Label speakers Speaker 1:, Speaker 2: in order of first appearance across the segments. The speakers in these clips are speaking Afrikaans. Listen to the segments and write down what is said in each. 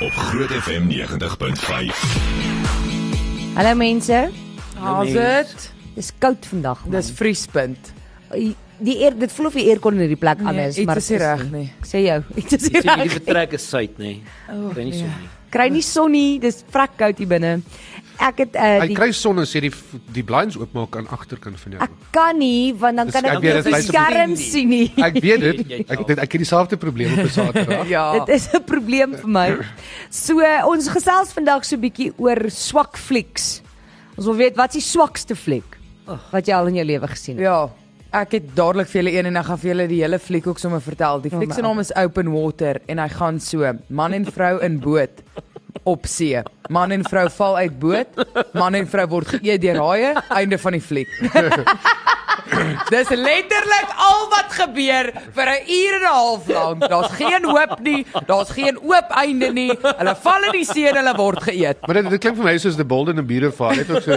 Speaker 1: Groot FM 90.5.
Speaker 2: Hallo mense,
Speaker 3: How's it?
Speaker 2: dis koud vandag. man.
Speaker 3: Dis vriespunt.
Speaker 2: die, die eer dit voel of die aircon in hierdie plek aan is,
Speaker 3: Nee, iets
Speaker 2: maar
Speaker 3: is nie
Speaker 2: dit
Speaker 3: reg nie.
Speaker 2: Ek sê jou, iets is nie
Speaker 4: Sien jy
Speaker 3: Ja,
Speaker 2: reg
Speaker 4: die
Speaker 2: nie.
Speaker 4: vertrek is suid nê. Nee. Kan nie so nie.
Speaker 2: Kry nie son nie, dis vrek koud hier binne. Ek het uh,
Speaker 5: Hy
Speaker 2: die
Speaker 5: kry son en sê die die blinds oopmaak aan agterkant van jou.
Speaker 2: ek kan nie want dan
Speaker 5: Dis-
Speaker 2: kan
Speaker 5: ek
Speaker 2: ek nie
Speaker 5: weet,
Speaker 2: op
Speaker 5: dit
Speaker 2: die
Speaker 5: lyk op
Speaker 2: skerm sien nie.
Speaker 5: Ek weet dit.
Speaker 4: Jy
Speaker 5: Ek
Speaker 4: tel.
Speaker 5: dit, ek het dieselfde probleem op 'n Saterdag.
Speaker 3: Ja.
Speaker 2: Dit is 'n probleem vir my. So uh, ons gesels vandag so 'n bietjie oor swak flieks. Ons wil weet wat is die swakste fliek wat jy al in jou lewe gesien het?
Speaker 3: Ja. Ek het dadelik vir julle een en ek gaan vir julle die hele fliek ook sommer vertel. Die fliek se naam is Open Water en hy gaan so: man en vrou in boot op see. Man en vrou val uit boot, man en vrou word geëet deur haie, einde van die fliek. Dis letterlik al wat gebeur vir 'n uur en 'n half lank. Daar's geen hoop nie, daar's geen oop einde nie. Hulle val in die see en hulle word geëet.
Speaker 5: Maar dit, dit klink vir my soos the Bolden and Beautiful. Hulle het ook so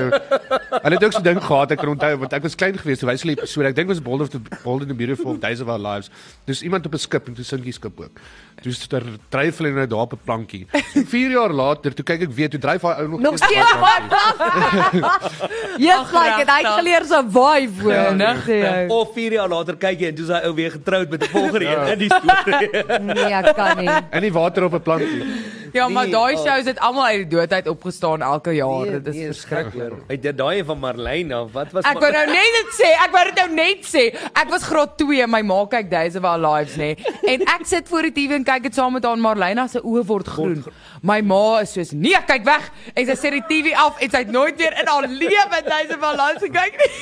Speaker 5: Hulle het ook so ding gehad, ek kan onthou want ek was klein geweest, so wys hulle die episode. Ek dink was Bolden of the Bolden and Beautiful of Days of Our Lives. Dis iemand op 'n skip en toe sink die skip ook. Toe ster dryf hulle nou daar op 'n plankie. En 4 jaar later, toe kyk ek weer, toe dryf hy ou nog
Speaker 2: Nog
Speaker 5: steeds
Speaker 2: steeds
Speaker 5: daar
Speaker 2: baie
Speaker 5: plankie.
Speaker 2: Yes, like dit hy het geleer survive hoor.
Speaker 3: Ja.
Speaker 4: Regtig. Ja, Of 4 jaar later kyk jy en toe is hy ou weer getroud met 'n volgende een in die storie.
Speaker 2: Nee, ek kan nie.
Speaker 5: In die water op 'n plankie.
Speaker 3: Ja, maar
Speaker 4: Nee,
Speaker 3: daai
Speaker 4: oh. Nee,
Speaker 3: shows het almal uit die doodheid opgestaan elke jaar. Dit Nee, is
Speaker 4: verskriklik. Hy het daai een van Marlene af. Wat was
Speaker 3: Ek wou nou net dit sê, ek wou dit nou net sê. Ek was graad 2, my ma kyk Days of Our Lives nê. En ek sit voor die TV en kyk dit saam met haar en Marlena se oë word groen. My ma is soos, "Nee, kyk weg." En sy sit die TV af en sy het nooit weer in haar lewe Days of Our Lives gekyk nie.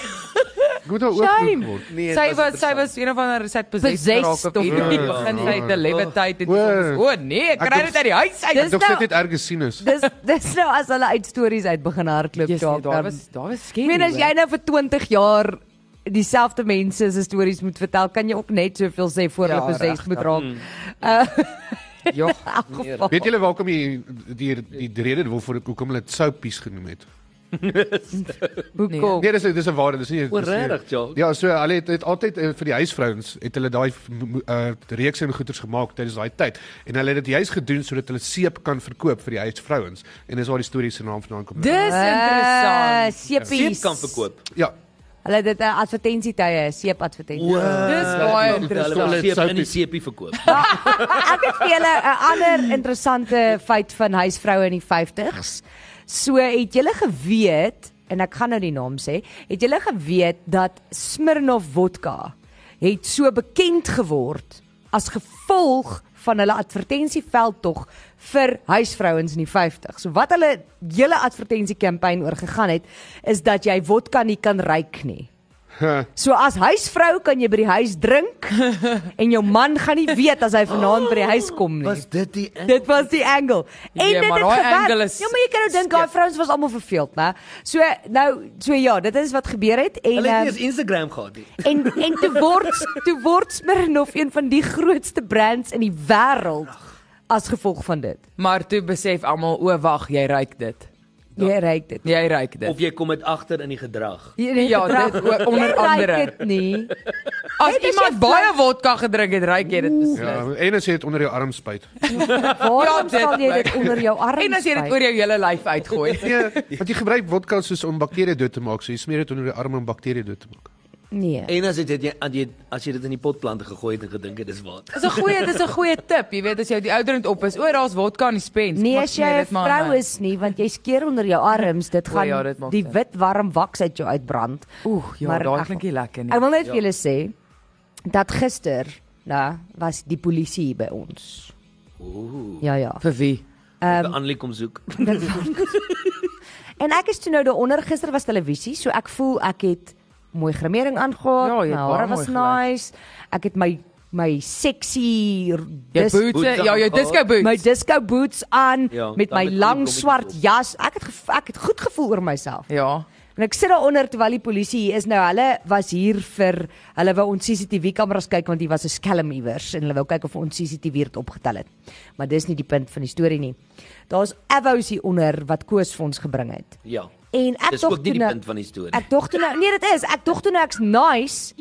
Speaker 5: Ek moet daar ook
Speaker 3: Shame.
Speaker 5: goed word.
Speaker 4: Nee, dit
Speaker 3: sy
Speaker 4: was
Speaker 3: was sy
Speaker 4: interessant.
Speaker 3: was een of ander sy het possessed
Speaker 2: Possessed
Speaker 3: geraak of
Speaker 2: of
Speaker 3: iets.
Speaker 5: iets.
Speaker 3: Begin sy
Speaker 4: Ja.
Speaker 3: te levitate en
Speaker 5: Oor.
Speaker 3: o nee, ek kry
Speaker 5: Ek dink-
Speaker 3: dit uit die huis uit.
Speaker 2: Dis
Speaker 5: Dit
Speaker 2: nou-
Speaker 5: dog sit net ergens sien is.
Speaker 2: Dis dis nou as hulle uit stories uit begin hardloop
Speaker 3: Yes, nee,
Speaker 2: dalk
Speaker 3: daar
Speaker 2: dan.
Speaker 3: was daar was
Speaker 2: Ek
Speaker 3: skerry.
Speaker 2: meen as jy nou vir 20 jaar dieselfde mense se stories moet vertel, kan jy ook net soveel sê voor
Speaker 3: Ja,
Speaker 2: hulle beses
Speaker 3: regtig.
Speaker 2: moet raak.
Speaker 4: Hmm,
Speaker 3: Ja.
Speaker 2: In elk geval.
Speaker 5: Weet julle waarkom jy die die, die rede waarvoor ek hoekom hulle dit soupies genoem het?
Speaker 2: Hoekom?
Speaker 5: Nee, dis dis 'n waarheid, dis nie.
Speaker 4: O,
Speaker 5: dis nie-
Speaker 4: regtig, ja.
Speaker 5: Ja, so hulle het, het altyd uh, vir die huisvrouens het hulle daai uh, reeks en goeders gemaak tydens daai tyd en hulle het dit juis gedoen sodat hulle seep kan verkoop vir die huisvrouens en dis waar die storie se naam vandaan kom.
Speaker 3: Dis interessant.
Speaker 2: Seepies.
Speaker 4: seep kan verkoop.
Speaker 5: ja.
Speaker 2: Hulle het dit 'n advertensietye, seep advertensie.
Speaker 3: Ja, Dis baie
Speaker 4: Hulle
Speaker 3: interessant.
Speaker 4: wil
Speaker 5: Hulle het
Speaker 4: seep in Ja, die
Speaker 5: soupie.
Speaker 4: seepie verkoop.
Speaker 2: Ek het vir julle 'n ander interessante feit van huisvroue in die 50s. So het julle geweet en ek gaan nou die naam sê, het julle geweet dat Smirnoff vodka het so bekend geword as gevolg van hulle advertensieveldtog vir huisvrouens in die 50. So wat hulle hele advertensiekampanje oor gegaan het, is dat jy vodka nie kan ruik nie. So as huisvrou kan jy by die huis drink en jou man gaan nie weet as hy vanaand by die huis kom nie.
Speaker 4: Was dit die
Speaker 2: Dit was die angle. En
Speaker 3: Nee,
Speaker 2: dit
Speaker 3: maar
Speaker 2: het
Speaker 3: daai
Speaker 2: gewerk.
Speaker 3: angle is
Speaker 2: Ja, maar jy kan nou dink daai
Speaker 3: skeef.
Speaker 2: vrouens was almal verveeld, né? So nou, so ja, dit is wat gebeur het en
Speaker 4: Hulle het
Speaker 2: ehm,
Speaker 4: nie eens Instagram gehad nie.
Speaker 2: en en toe word toe word Smirnoff een van die grootste brands in die wêreld as gevolg van dit.
Speaker 3: Maar toe besef almal, o wag, jy ruik dit.
Speaker 2: Jy ryk dit.
Speaker 3: Jy ruik dit.
Speaker 4: Of jy kom dit agter in die gedrag.
Speaker 2: Jy het
Speaker 3: Ja,
Speaker 2: gedra-
Speaker 3: dit ook onder
Speaker 2: jy ruik
Speaker 3: andere.
Speaker 2: dit nie.
Speaker 3: As
Speaker 2: Net as jy
Speaker 3: iemand baie vodka gedrink het, ruik jy dit beslis.
Speaker 5: Ja, en as jy dit onder jou arm spuit.
Speaker 2: Waarom
Speaker 3: dit
Speaker 2: sal jy dit
Speaker 3: ook.
Speaker 2: onder jou arm?
Speaker 3: En as jy dit oor jou hele lyf uitgooi.
Speaker 5: Nee, want jy gebruik vodka soos om bakterieë dood te maak, so jy smeer dit onder jou arm om bakterieë dood te maak.
Speaker 2: Nee.
Speaker 4: En as dit het jy as jy as jy dit in die potplante gegooi het en gedink het dis water.
Speaker 3: Dis 'n goeie, dis 'n goeie tip. Jy weet as jy die ouderdom op is, o, daar's vodka in die spens.
Speaker 2: Nee,
Speaker 3: Mag
Speaker 2: as jy
Speaker 3: smeer
Speaker 2: 'n
Speaker 3: dit maar nou. aan
Speaker 2: vrou
Speaker 3: my.
Speaker 2: is nie, want jy skeer onder jou arms, dit
Speaker 3: O,
Speaker 2: gaan
Speaker 3: ja, dit maak
Speaker 2: die
Speaker 3: sin.
Speaker 2: wit warm waks uit jou uitbrand.
Speaker 3: Oeg, ja,
Speaker 2: Maar
Speaker 3: daai
Speaker 2: ek-
Speaker 3: klink nie lekker nie.
Speaker 2: Ek wil net vir julle sê dat gister, nou, was die polisie hier by ons. Ooh. Ja ja.
Speaker 3: Vir wie? Ehm.
Speaker 4: Um, Annelie kom soek.
Speaker 2: En ek is toe nou daaronder gister was televisie, so ek voel ek het mooi grimering aangehad.
Speaker 3: Ja, jy het
Speaker 2: my
Speaker 3: baie
Speaker 2: hare
Speaker 3: mooi
Speaker 2: was
Speaker 3: gelyk.
Speaker 2: nice. Ek het my my sexy r-
Speaker 3: Jou
Speaker 2: dis-
Speaker 3: boots,
Speaker 4: boots
Speaker 3: ja, jou
Speaker 4: aan
Speaker 3: disco boots.
Speaker 2: my disco boots aan
Speaker 4: Ja,
Speaker 2: met
Speaker 4: dan
Speaker 2: my
Speaker 4: met die
Speaker 2: lang
Speaker 4: blommetjies
Speaker 2: swart
Speaker 4: op.
Speaker 2: jas. Ek het gev- ek het goed gevoel oor myself.
Speaker 3: ja.
Speaker 2: En ek sit daaronder terwyl die polisie hier is nou. Hulle was hier vir hulle wou ons CCTV kameras kyk want hier was 'n skelm iewers en hulle wou kyk of ons CCTV dit opgetel het. Maar dis nie die punt van die storie nie. Daar's avous hier onder wat Koos vir ons gebring het.
Speaker 4: Ja.
Speaker 2: En ek
Speaker 4: Dis
Speaker 2: dog
Speaker 4: ook nie
Speaker 2: toe
Speaker 4: die
Speaker 2: nou-
Speaker 4: punt van die storie.
Speaker 2: Ek dog toe nou nee, dit is. Ek dog toe nou ek's nice.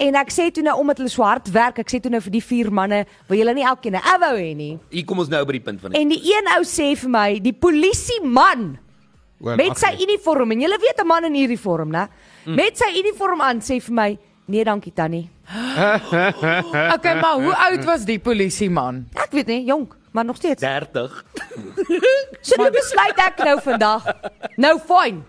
Speaker 2: En ek sê toe nou omdat hulle so hard werk, ek sê toe nou vir die vier manne, wil julle nie elkeen 'n avou hê nie.
Speaker 4: Hier kom ons nou by die punt van die.
Speaker 2: En die een ou sê vir my, die polisieman
Speaker 5: Wel,
Speaker 2: met sy
Speaker 5: ag,
Speaker 2: uniform en julle weet 'n man in uniform, né? Met sy uniform aan sê vir my, "Nee, dankie tannie."
Speaker 3: Okay, maar hoe oud was die polisieman?
Speaker 2: Ek weet nie, jonk, maar nog steeds.
Speaker 4: 30.
Speaker 2: So nou besluit ek nou vandag. Nou fyn.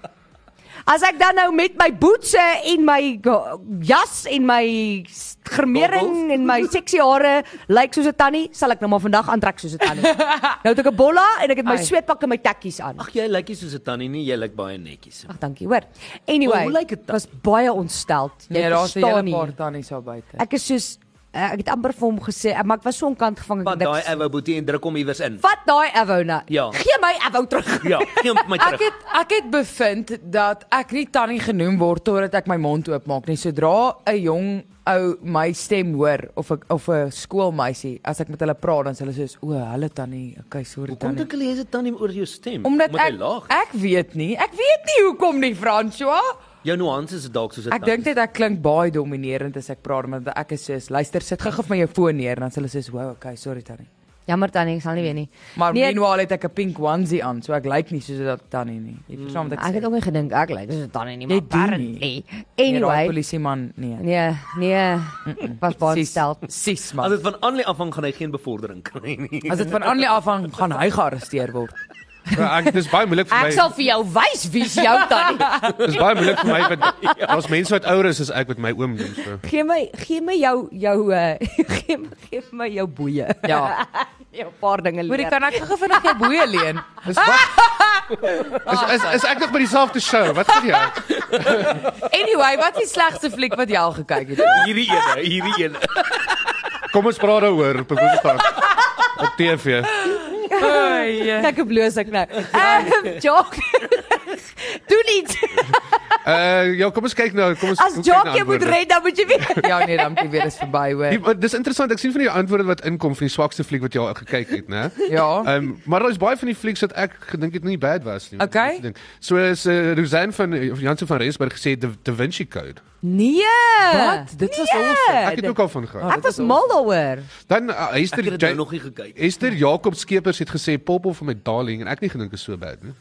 Speaker 2: As ek dan nou met my boetse en my go- jas en my s- grimering
Speaker 4: Goggles.
Speaker 2: en my seksie hare lyk soos 'n tannie, sal ek nou maar vandag aantrek soos 'n tannie. nou het ek 'n bolla en ek het my
Speaker 3: Ai.
Speaker 2: sweetpak en my tekkies aan.
Speaker 4: Ag jy lyk nie soos 'n tannie nie, jy lyk baie netjies.
Speaker 2: Ag, dankie, hoor. Anyway,
Speaker 4: Maar hoe lyk dit dan?
Speaker 2: was baie ontsteld. Jy
Speaker 3: Nee, daar's 'n
Speaker 2: verstaan
Speaker 3: hele
Speaker 2: nie.
Speaker 3: paar tannies daar buite.
Speaker 2: Ek is soos eh, ek het amper vir hom gesê, eh, maar ek was so aan kant gevang ek
Speaker 4: Vat
Speaker 2: niks.
Speaker 4: daai ouwe boetie en druk hom iewers in.
Speaker 2: Vat daai Avona.
Speaker 4: Ja.
Speaker 2: Gee my Avou terug.
Speaker 4: Ja, gee hom my
Speaker 3: Ek
Speaker 4: terug.
Speaker 3: het ek het bevind dat ek nie tannie genoem word totdat ek my mond oopmaak nie. Sodra 'n jong ou my stem hoor of 'n of 'n skoolmeisie, as ek met hulle praat, dan is hulle soos, "O, hulle tannie, okay, sorry
Speaker 4: Kom
Speaker 3: tannie."
Speaker 4: dink hulle is 'n tannie oor jou stem.
Speaker 3: Omdat
Speaker 4: Omdat hy
Speaker 3: ek
Speaker 4: laag.
Speaker 3: ek weet nie. Ek weet nie hoekom nie, François.
Speaker 4: Jou nuances is dalk soos 'n
Speaker 3: Ek dink net ek klink baie dominerend as ek praat want ek is soos luister sit gou-gou vir my jou foon neer en dan sê hulle soos wow okay sorry tannie.
Speaker 2: Jammer tannie, ek sal nie weer nie.
Speaker 3: Maar nee,
Speaker 2: Nee,
Speaker 3: meanwhile het ek 'n pink onesie aan so ek lyk nie soos dat tannie nie. Jy verstaan wat ek
Speaker 2: Ek
Speaker 3: sê.
Speaker 2: het ook nie gedink ek lyk soos 'n tannie nie, maar
Speaker 3: Jy doen
Speaker 2: apparently.
Speaker 3: Nee, daai
Speaker 2: Anyway.
Speaker 3: polisieman nee.
Speaker 2: Nee, nee. ek Was baie
Speaker 3: Sis-
Speaker 2: stel.
Speaker 3: Sis
Speaker 4: As
Speaker 3: man.
Speaker 4: dit van aanlei afhang gaan hy geen bevordering kry nie.
Speaker 3: As dit van Annelie af hang gaan hy gearresteer word.
Speaker 5: ek dis baie moeilik vir
Speaker 2: Ek
Speaker 5: my.
Speaker 2: sal vir jou wys wie's jou tannie.
Speaker 5: Dis baie moeilik vir my
Speaker 2: Ja.
Speaker 5: want daar's mense wat ouer is as ek wat my oom noem so.
Speaker 2: Gee my gee my jou jou uh, gee my, gee my jou boeie.
Speaker 3: Ja.
Speaker 2: Jou paar dinge leer.
Speaker 3: Hoorie kan ek gou-gou vinnig jou boeie leen?
Speaker 5: Dis wat Is is is ek nog by dieselfde show? Wat sê jy?
Speaker 3: Anyway, wat is die slegste fliek wat jy al gekyk het?
Speaker 4: Hierdie een, hierdie een.
Speaker 5: Kom ons praat daaroor op Woensdag. Op TV.
Speaker 3: Oei.
Speaker 2: Kyk hoe bloos ek nou. Ehm Jock. Doen iets.
Speaker 5: Uh ja, kom ons kyk nou, kom ons
Speaker 2: As
Speaker 5: hoe kyk
Speaker 2: Jock
Speaker 5: na
Speaker 2: jy moet
Speaker 5: antwoorde.
Speaker 2: red dan moet jy weer.
Speaker 3: Ja nee, dan moet jy weer is verby
Speaker 5: Die,
Speaker 3: hoor.
Speaker 5: maar dis interessant. Ek sien van die antwoorde wat inkom van die swakste fliek wat jy al gekyk het, né?
Speaker 3: Ja.
Speaker 5: Ehm um, maar daar's baie van die flieks wat ek gedink het nie bad was nie.
Speaker 3: Okay.
Speaker 5: Ek dink. So is uh, Roseanne van of Jansen van Rensburg gesê Da, da Vinci Code.
Speaker 2: Nee.
Speaker 3: Wat? Dit was
Speaker 2: Nee.
Speaker 4: Ja,
Speaker 3: awesome.
Speaker 5: Ek het ook al van
Speaker 3: Ah.
Speaker 5: gehad.
Speaker 2: Ek was mal daaroor.
Speaker 5: Dan uh,
Speaker 4: Oh. Ek
Speaker 5: Esther
Speaker 4: het dit nou
Speaker 5: Ja-
Speaker 4: nog nie gekyk.
Speaker 5: Esther Jakob Skeepers het gesê Popol van my darling en ek nie gedink is so bad nie.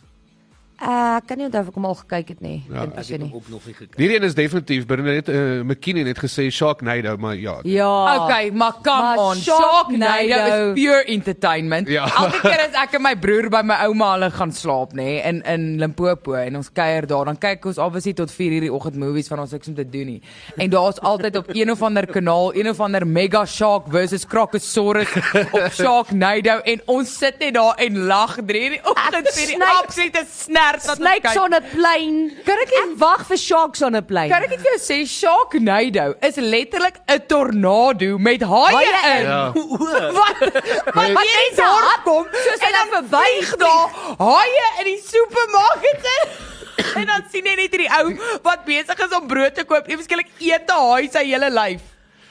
Speaker 2: Uh, ek kan nie onthou of ek hom al gekyk het nie.
Speaker 5: Ja,
Speaker 2: Dink
Speaker 4: Ek
Speaker 2: ek
Speaker 4: het
Speaker 2: nie.
Speaker 4: hom ook nog nie gekyk.
Speaker 5: Hierdie een is definitief Bernadette uh, McKinnon het gesê Sharknado, maar ja.
Speaker 2: Ja.
Speaker 3: Okay, maar come
Speaker 2: Maar
Speaker 3: on.
Speaker 2: Sharknado.
Speaker 3: Sharknado is pure entertainment.
Speaker 5: Ja.
Speaker 3: Elke keer as ek en my broer by my ouma hulle gaan slaap, nê, nee, in in Limpopo en ons kuier daar, dan kyk ons obviously tot 4:00 die oggend movies van ons niks om te doen nie. En daar's altyd op een of ander kanaal een of ander mega shark versus crocosaurus of Sharknado en ons sit net daar en lag 3:00 die
Speaker 2: Ek
Speaker 3: oggend vir die
Speaker 2: snyk-
Speaker 3: absolute snert wat ons
Speaker 2: Snakes
Speaker 3: kyk.
Speaker 2: on a plane. Kan ek ek wag vir sharks on a plane.
Speaker 3: Kan ek net vir jou sê Sharknado is letterlik 'n tornado met haie
Speaker 2: Haie in.
Speaker 3: in.
Speaker 5: Ja. Nee.
Speaker 3: Wat? Wat
Speaker 5: Maar-
Speaker 3: Nee. jy
Speaker 2: mense
Speaker 3: Eh, daar
Speaker 2: hap
Speaker 3: kom,
Speaker 2: soos
Speaker 3: en
Speaker 2: hulle
Speaker 3: dan
Speaker 2: verby
Speaker 3: verwyg daar haie in die supermarkte. en dan sien jy net hierdie ou wat besig is om brood te koop, ewe skielik eet 'n haai sy hele lyf.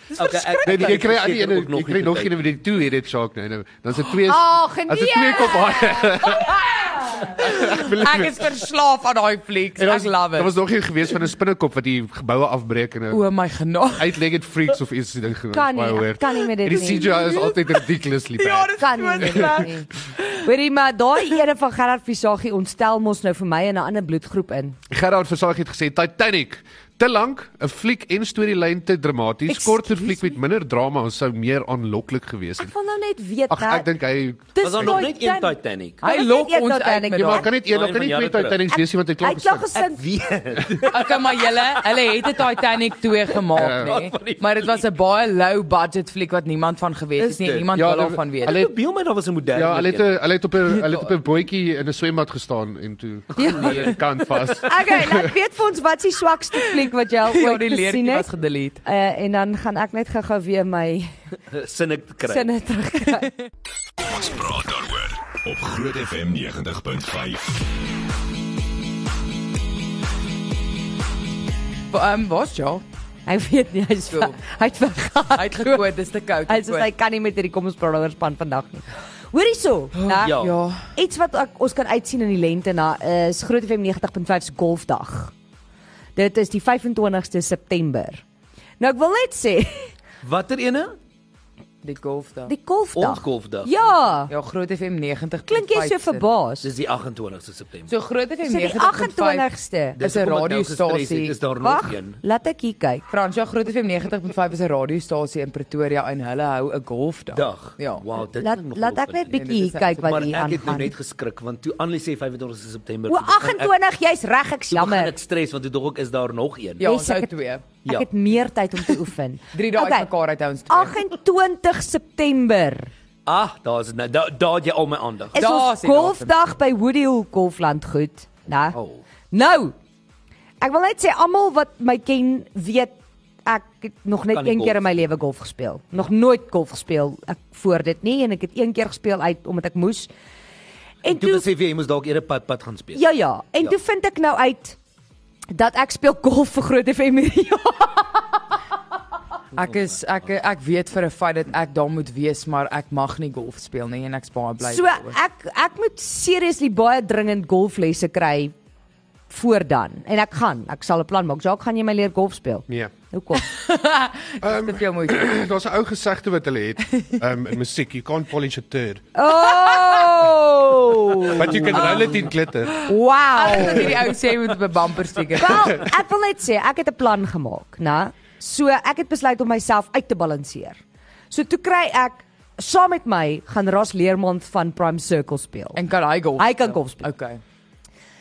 Speaker 3: Dis
Speaker 4: Okay, ek-
Speaker 3: verskrik.
Speaker 5: Nee, jy kry aan die
Speaker 4: Ek het
Speaker 5: ene,
Speaker 4: ook nog
Speaker 5: jy
Speaker 4: nie
Speaker 5: kry nog
Speaker 4: gekyk.
Speaker 5: een met die toe het dit Shark nou nou. Dan is dit twee.
Speaker 2: Ag, nee.
Speaker 5: As dit twee kop haai.
Speaker 3: Ek is verslaaf aan daai fliek. Ek love
Speaker 5: Daar was
Speaker 3: it.
Speaker 5: nog een gewees van 'n spinnekop wat die geboue afbreek en 'n
Speaker 3: O my genade.
Speaker 5: uitlegged freaks of iets ding genoem.
Speaker 2: Kan nie, ek kan nie met dit
Speaker 5: Die
Speaker 2: nie.
Speaker 5: CGI is altyd ridiculously
Speaker 3: Ja,
Speaker 5: bad.
Speaker 3: dis
Speaker 2: kan
Speaker 3: so
Speaker 2: nie.
Speaker 3: sleg.
Speaker 2: nie. Hoorie maar daai ene van Gerard Visagie ontstel mos nou vir my in 'n ander bloedgroep in.
Speaker 5: Gerard Versace het gesê Titanic te lank, 'n fliek en storielyn te dramaties,
Speaker 2: Excuse
Speaker 5: korter fliek met minder drama en sou meer aanloklik gewees
Speaker 2: Ek
Speaker 5: het.
Speaker 2: wil nou net weet
Speaker 5: Ag ek dink hy
Speaker 4: Was daar nog net een Titanic?
Speaker 3: Hy
Speaker 2: Kan ek
Speaker 3: lok
Speaker 2: net
Speaker 3: ons
Speaker 2: Titanic
Speaker 3: uit
Speaker 2: doen?
Speaker 3: met
Speaker 5: Ja,
Speaker 3: daai.
Speaker 5: maar kan net een,
Speaker 4: Maar een van
Speaker 5: kan nie twee
Speaker 4: jare terug.
Speaker 5: Titanics wees nie want hy
Speaker 2: Hy
Speaker 5: klink
Speaker 2: klag
Speaker 5: gesing.
Speaker 2: gesind.
Speaker 3: Okay, maar julle, hulle het 'n Titanic 2 gemaak,
Speaker 5: Ja.
Speaker 3: nê? Maar dit was 'n baie low budget fliek wat niemand van geweet
Speaker 4: Is
Speaker 3: het nie.
Speaker 4: dit?
Speaker 3: Niemand
Speaker 5: Ja,
Speaker 3: wil
Speaker 5: dit-
Speaker 3: daarvan weet.
Speaker 5: hulle-
Speaker 4: Hulle beel my daar was 'n moderne.
Speaker 5: Ja, hulle het
Speaker 4: een.
Speaker 5: hulle het op 'n hulle het op 'n bootjie in 'n swembad gestaan en toe
Speaker 2: Ja.
Speaker 5: aan die kant vas.
Speaker 2: Okay, laat weet vir ons wat is die swakste fliek wat jy al
Speaker 3: Ja,
Speaker 2: ooit
Speaker 3: die
Speaker 2: gesien
Speaker 3: leertjie was
Speaker 2: het.
Speaker 3: gedelete.
Speaker 2: Uh, en dan gaan ek net gou-gou weer my
Speaker 4: sinne kry.
Speaker 2: sinne terugkry.
Speaker 1: Ons praat daaroor op Groot FM 90.5.
Speaker 3: Ehm um, was ja.
Speaker 2: Hy weet nie hy's
Speaker 3: Cool.
Speaker 2: hy't vergaan.
Speaker 3: Hy het gekoot, dis te koud.
Speaker 2: Hy sê hy kan nie met hierdie kom ons praat oor span vandag nie. Hoor hierso, né?
Speaker 4: Ja.
Speaker 3: ja.
Speaker 2: Iets wat ek, ons kan uitsien in die lente na is Groot FM 90.5 se golfdag. Dit is die 25ste September. Nou ek wil net sê,
Speaker 4: Watter ene?
Speaker 3: Die golfdag.
Speaker 2: die golfdag.
Speaker 4: Ons golfdag.
Speaker 2: Ja.
Speaker 3: Ja, Groot FM 90.
Speaker 2: Klink jy so verbaas?
Speaker 4: Dis die 28ste September.
Speaker 3: So Groot FM
Speaker 2: Dis die
Speaker 3: 90.5
Speaker 2: 28ste.
Speaker 3: is 'n
Speaker 4: hoekom ek nou gestres het,
Speaker 3: radiostasie.
Speaker 4: Is daar nog
Speaker 2: Wag,
Speaker 4: een?
Speaker 2: laat ek hier kyk.
Speaker 3: Fransjo ja, Groot FM 90.5 is 'n radiostasie in Pretoria en hulle hou 'n golfdag.
Speaker 4: Dag.
Speaker 3: Ja.
Speaker 4: Wow, dit
Speaker 2: Laat
Speaker 4: klink nogal
Speaker 2: laat ek net
Speaker 4: opwindend.
Speaker 2: bietjie
Speaker 3: Nee, dit
Speaker 2: hier
Speaker 3: is-
Speaker 2: kyk wat
Speaker 4: Maar
Speaker 2: hier
Speaker 4: ek het nou
Speaker 2: aangaan.
Speaker 4: net geskrik want toe Annelie sê 25 September.
Speaker 2: O
Speaker 4: toe begin ek-
Speaker 2: 28, jy's reg, ek's
Speaker 4: toe begin
Speaker 2: jammer.
Speaker 4: Ek stres want toe dog ek is daar nog een.
Speaker 3: Ja,
Speaker 2: Yes,
Speaker 3: ons hou
Speaker 2: ek het-
Speaker 3: twee.
Speaker 4: Ja.
Speaker 2: Ek het meer tyd om te oefen.
Speaker 3: 3 dae
Speaker 2: Okay,
Speaker 3: uitmekaar uit ons twee.
Speaker 2: 28 September
Speaker 4: Ah, daar's nou da, daar het jy al my aandag.
Speaker 2: is
Speaker 3: Daar
Speaker 2: ons
Speaker 3: is die datum.
Speaker 2: golfdag by Woody Hill Golfland goed, né?
Speaker 4: Oh.
Speaker 2: Nou. Ek wil net sê almal wat my ken weet ek het nog net
Speaker 4: Kan nie
Speaker 2: een keer
Speaker 4: golf.
Speaker 2: in my lewe golf gespeel. Nog nooit golf gespeel ek voor dit nie en ek het een keer gespeel uit omdat ek moes. En
Speaker 4: Toe
Speaker 2: toe
Speaker 4: besef jy jy moes dalk eerder pad pad gaan speel.
Speaker 2: Ja ja, en
Speaker 4: Ja.
Speaker 2: toe vind ek nou uit dat ek speel golf vir Groot FM. Ja.
Speaker 3: Ek is ek ek weet vir 'n feit dat ek daar moet wees, maar ek mag nie golf speel nie en ek's baie bly.
Speaker 2: So
Speaker 3: daaroor.
Speaker 2: ek ek moet seriously baie dringend golflesse kry voor dan en ek gaan, ek sal 'n plan maak. Jacques, gaan jy my leer golf speel?
Speaker 5: Nee.
Speaker 2: Hoekom?
Speaker 3: Dis te veel moeite.
Speaker 5: Daar's 'n ou gesegde wat hulle het um, in musiek, you can't polish a turd,
Speaker 2: Oh!
Speaker 5: but you can roll it in glitter.
Speaker 2: Nou, Wow.
Speaker 3: Wat hierdie ou sê met 'n bumper sticker.
Speaker 2: Wel, ek wil net sê ek het 'n plan gemaak, né? So ek het besluit om myself uit te balanseer. So toe kry ek saam met my gaan Ras Leermond van Prime Circle speel.
Speaker 3: En kan hy golf?
Speaker 2: Hy kan golf speel.
Speaker 3: Okay.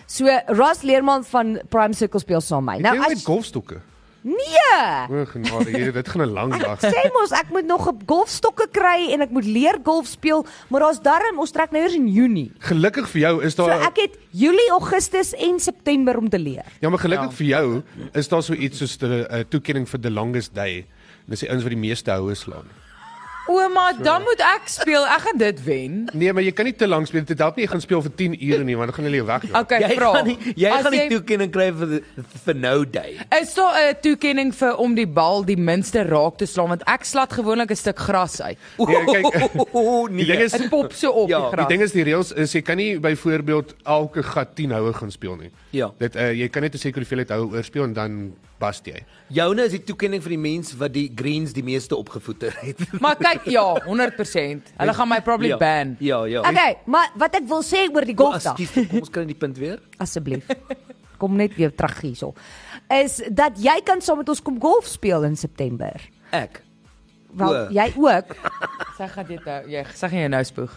Speaker 2: So Ras Leerman van Prime Circle speel saam met my.
Speaker 5: Nou,
Speaker 2: Nou
Speaker 5: jy
Speaker 2: as
Speaker 5: het golfstokke.
Speaker 2: nee,
Speaker 5: O, genade, hier, dit gaan 'n lang dag.
Speaker 2: sê mos ek moet nog 'n golfstokke kry en ek moet leer golf speel, maar daar's darm ons trek nou eers in Junie.
Speaker 5: Gelukkig vir jou is
Speaker 2: So
Speaker 5: daar
Speaker 2: ek het Julie, Augustus en September om te leer.
Speaker 5: Ja, maar gelukkig vir jou is daar so iets soos 'n uh, toekenning vir the longest day. En dis die ouens wat die meeste houe slaan.
Speaker 3: O, maar dan moet ek speel. Ek gaan dit wen.
Speaker 5: Nee, maar jy kan nie te lank speel. Dit help nie jy gaan speel vir 10 ure nie, want dan gaan hulle jou weg.
Speaker 3: Okay,
Speaker 4: Jy
Speaker 3: vra.
Speaker 4: gaan nie jy
Speaker 3: As
Speaker 4: gaan nie toekenning kry vir die- vir nou day.
Speaker 3: Is daar 'n toekenning vir om die bal die minste raak te slaan want ek slat gewoonlik 'n stuk gras uit.
Speaker 5: Nee, kyk,
Speaker 4: O nee.
Speaker 5: die ding is
Speaker 3: Dit pop so op
Speaker 4: Ja,
Speaker 3: die
Speaker 5: Die
Speaker 3: gras.
Speaker 5: ding is die reëls is jy kan nie byvoorbeeld elke gat 10 houe gaan speel nie.
Speaker 4: Ja.
Speaker 5: Dit uh, jy kan net 'n sekere hoeveelheid houe oorspeel en dan bast jy.
Speaker 4: Joune is die toekenning vir die mens wat die greens die meeste opgevoeter het.
Speaker 3: Maar kyk, ja, 100%. Hulle gaan my probably
Speaker 4: ja.
Speaker 3: ban.
Speaker 4: Ja, ja.
Speaker 2: Okay, maar wat ek wil sê oor die golfdag.
Speaker 4: Askies, kom ons kry die punt weer.
Speaker 2: asseblief. Kom net weer terug hierso. Is dat jy kan saam met ons kom golf speel in September.
Speaker 4: Ek.
Speaker 2: Wel,
Speaker 4: O.
Speaker 2: jy ook.
Speaker 3: Sy gaan dit nou, jy sê jy nou spoeg.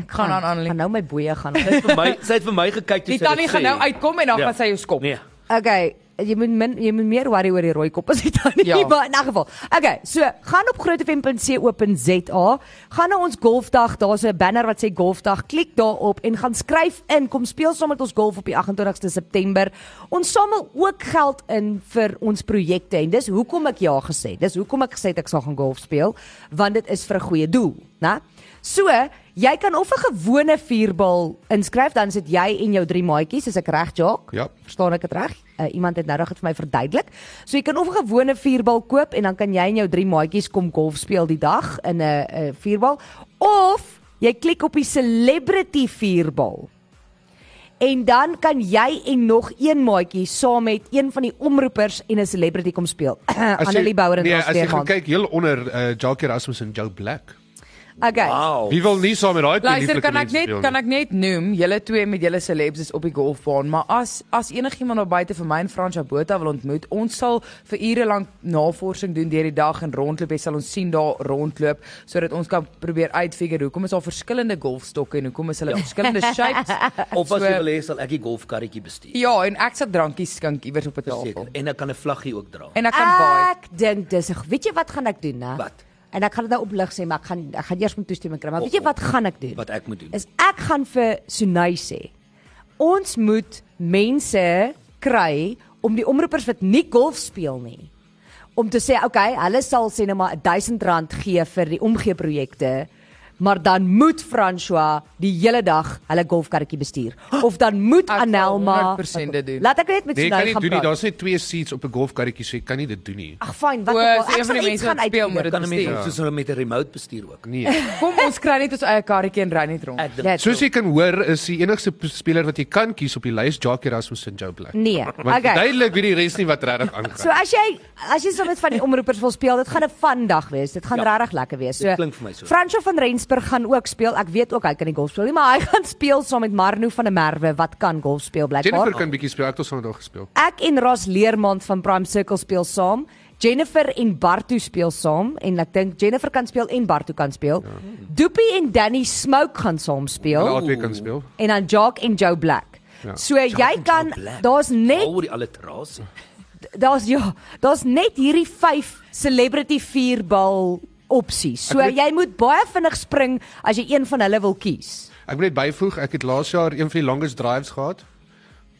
Speaker 3: Ek gaan aan
Speaker 2: Gaan
Speaker 3: Annelie.
Speaker 2: nou my boeye gaan.
Speaker 4: Sy het vir my, sy het vir my gekyk toe
Speaker 3: Die
Speaker 4: sy dit
Speaker 3: tannie gaan
Speaker 4: sê.
Speaker 3: nou uitkom en dan
Speaker 4: Ja.
Speaker 3: gaan sy jou skop.
Speaker 4: Nee.
Speaker 2: Okay, jy moet min, jy moet meer worry oor die rooi kop as dit dan nie, ja.
Speaker 3: Ja.
Speaker 2: maar in 'n geval. Okay, so gaan op grootefm.co.za, gaan na ons golfdag, daar's 'n banner wat sê golfdag, klik daarop en gaan skryf in, kom speel saam met ons golf op die 28ste September. Ons samel ook geld in vir ons projekte en dis hoekom ek ja gesê. Dis hoekom ek gesê het ek sal gaan golf speel, want dit is vir 'n goeie doel, né? So, jy kan of 'n gewone vierbal inskryf, dan sit jy en jou drie maatjies, as ek reg jaak.
Speaker 5: Ja.
Speaker 2: Verstaan ek dit reg? Uh, iemand het nou net vir my verduidelik. So jy kan of 'n gewone vierbal koop en dan kan jy en jou drie maatjies kom golf speel die dag in 'n 'n vierbal of jy klik op die celebrity vierbal. En dan kan jy en nog een maatjie saam met een van die omroepers en 'n celebrity kom speel.
Speaker 5: As jy-
Speaker 2: Annelie Bouwer en
Speaker 5: nee,
Speaker 2: Ras
Speaker 5: as jy gaan
Speaker 2: Steegman.
Speaker 5: kyk heel onder uh, Jackie Rasmus en Joe Black.
Speaker 2: Okay.
Speaker 4: Wow.
Speaker 5: Wie wil nie saam met daai twee
Speaker 3: Luister, kan ek
Speaker 5: mense
Speaker 3: net
Speaker 5: speel nie?
Speaker 3: kan ek net noem, julle twee met julle celebs is op die golfbaan, maar as as enigiemand daar buite vir my en Fransja Botha wil ontmoet, ons sal vir ure lank navorsing doen deur die dag en rondloop, jy sal ons sien daar rondloop sodat ons kan probeer uitfigure hoekom is daar verskillende golfstokke en hoekom is hulle verskillende shapes.
Speaker 4: Of as
Speaker 3: So-
Speaker 4: jy wil hê sal ek die golfkarretjie bestuur.
Speaker 3: Ja, en ek sal drankies skink iewers op 'n
Speaker 4: Seker.
Speaker 3: tafel.
Speaker 4: En ek kan 'n vlaggie ook dra.
Speaker 3: En ek
Speaker 2: Ah.
Speaker 3: kan baie.
Speaker 2: Ek dink dis 'n weet jy wat gaan ek doen, né?
Speaker 4: Wat?
Speaker 2: En ek gaan dit nou oplig sê, maar ek gaan ek gaan eers moet toestemming kry. Maar weet
Speaker 4: O,
Speaker 2: jy
Speaker 3: Oh,
Speaker 4: o,
Speaker 2: wat gaan ek doen?
Speaker 4: wat ek moet doen.
Speaker 2: Is ek gaan vir Sunay sê, ons moet mense kry om die omroepers wat nie golf speel nie om te sê, okay, hulle sal sê nou maar R1000 gee vir die omgee projekte maar dan moet François die hele dag hulle golfkarretjie bestuur. Of dan moet
Speaker 3: Ek sal
Speaker 2: Anelma
Speaker 3: 100% dit doen.
Speaker 2: Laat ek net met
Speaker 5: Nee, kan
Speaker 2: Sunay
Speaker 5: nie
Speaker 2: gaan
Speaker 5: doen nie.
Speaker 2: praat.
Speaker 5: Daar's net twee seats op 'n golfkarretjie, so jy kan nie dit doen nie.
Speaker 2: Ag fyn, wat
Speaker 3: O,
Speaker 2: ook al. Ek
Speaker 3: is een van die
Speaker 2: sal
Speaker 3: mense
Speaker 2: iets gaan
Speaker 3: wat speel,
Speaker 2: uitvind.
Speaker 3: maar dit
Speaker 4: Kan 'n mens
Speaker 3: bestuur.
Speaker 4: ook soos hulle met 'n remote bestuur ook.
Speaker 5: Nee.
Speaker 3: Kom ons kry net ons eie karretjie en ry net rond.
Speaker 4: Ek dink
Speaker 2: Let's
Speaker 5: Soos jy kan hoor, is die enigste p- speler wat jy kan kies op die lys Jacques Erasmus en Joe Black.
Speaker 2: Nee,
Speaker 5: Want okay.
Speaker 2: okay.
Speaker 5: duidelik weet die res nie wat regtig aangaan.
Speaker 2: So as jy as jy so met van die omroepers wil speel, dit gaan 'n fun dag wees. Dit gaan
Speaker 4: Ja.
Speaker 2: ja, regtig lekker wees.
Speaker 4: Dit klink vir my so.
Speaker 2: Fransjo van Rensburg gaan ook speel. Ek weet ook hy kan nie golf speel nie, maar hy gaan speel saam met Marno van der Merwe wat kan golf speel
Speaker 5: Jennifer
Speaker 2: blykbaar.
Speaker 5: kan bietjie speel. Ek het al saam daar gespeel.
Speaker 2: Ek en Ros Leermond van Prime Circle speel saam. Jennifer en Bartu speel saam en ek dink Jennifer kan speel en Bartu kan speel. Ja. Doopie en Danny Smoke gaan saam speel
Speaker 4: Ja,
Speaker 5: Hulle albei kan speel.
Speaker 2: en dan Jock en Joe Black. Ja.
Speaker 5: Ja.
Speaker 2: So jy kan
Speaker 4: Black.
Speaker 2: daar's net
Speaker 4: oor die alliterasie.
Speaker 2: daar's ja, daar's net hierdie 5 celebrity vierbal opsies. So
Speaker 5: Ek weet-
Speaker 2: jy moet baie vinnig spring as jy een van hulle wil kies.
Speaker 5: Ek wil net byvoeg, ek het laas jaar een van die longest drives gehad.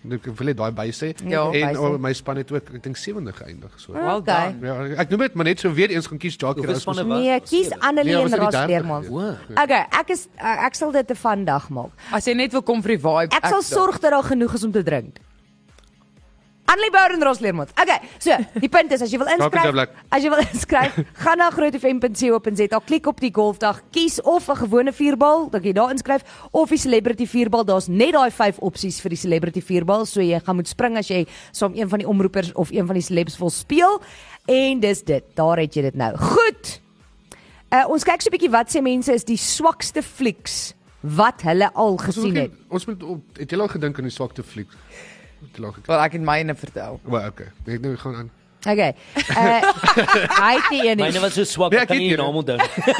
Speaker 5: Ek wil net daai by sê.
Speaker 3: Ja.
Speaker 5: en
Speaker 2: Bysê.
Speaker 5: oh, my span het ook ek dink 70 geëindig so.
Speaker 2: Ah.
Speaker 3: Well
Speaker 2: Okay.
Speaker 3: done.
Speaker 5: Ja, ek noem dit maar net so weer eens gaan kies Jacques
Speaker 4: Hoeveel
Speaker 5: Erasmus.
Speaker 4: spanne was?
Speaker 2: Nee,
Speaker 4: daar?
Speaker 2: kies
Speaker 4: Sewe.
Speaker 2: Annelie
Speaker 5: Nee,
Speaker 2: nee,
Speaker 5: ons
Speaker 2: en
Speaker 5: het die
Speaker 2: Ros
Speaker 5: derde
Speaker 2: Leermond.
Speaker 5: gewees.
Speaker 2: Okay, ek is uh, ek sal dit 'n fun dag maak.
Speaker 3: As jy net wil kom vir die vibe.
Speaker 2: Ek sal
Speaker 3: daar.
Speaker 2: sorg dat daar genoeg is om te drink. Annelie Bouwer en Ros Leermond. Okay, so die punt is as jy wil
Speaker 5: Daar kom
Speaker 2: inskryf,
Speaker 5: jy blik.
Speaker 2: as jy wil inskryf, gaan na grootfm.co.za, klik op die golfdag, kies of 'n gewone vierbal, dan kan jy daar inskryf of die celebrity vierbal. Daar's net daai 5 opsies vir die celebrity vierbal, so jy gaan moet spring as jy saam een van die omroepers of een van die celebs wil speel. En dis dit. Daar het jy dit nou. Goed. Uh, ons kyk so 'n bietjie wat sê mense is die swakste flieks wat hulle al
Speaker 5: Ons moet
Speaker 2: gesien het.
Speaker 5: ook nie- Ons moet op, het jy al gedink aan die swakte fliek? Het jy al gedink?
Speaker 3: Wel ek het myne vertel.
Speaker 5: Maar okay, ek nou gaan aan.
Speaker 2: Okay. Uh hy het nie een nie.
Speaker 4: Myne was so swak,
Speaker 5: Nee,
Speaker 4: ek
Speaker 5: ek
Speaker 4: kan nie
Speaker 5: het
Speaker 4: die naam onthou nie.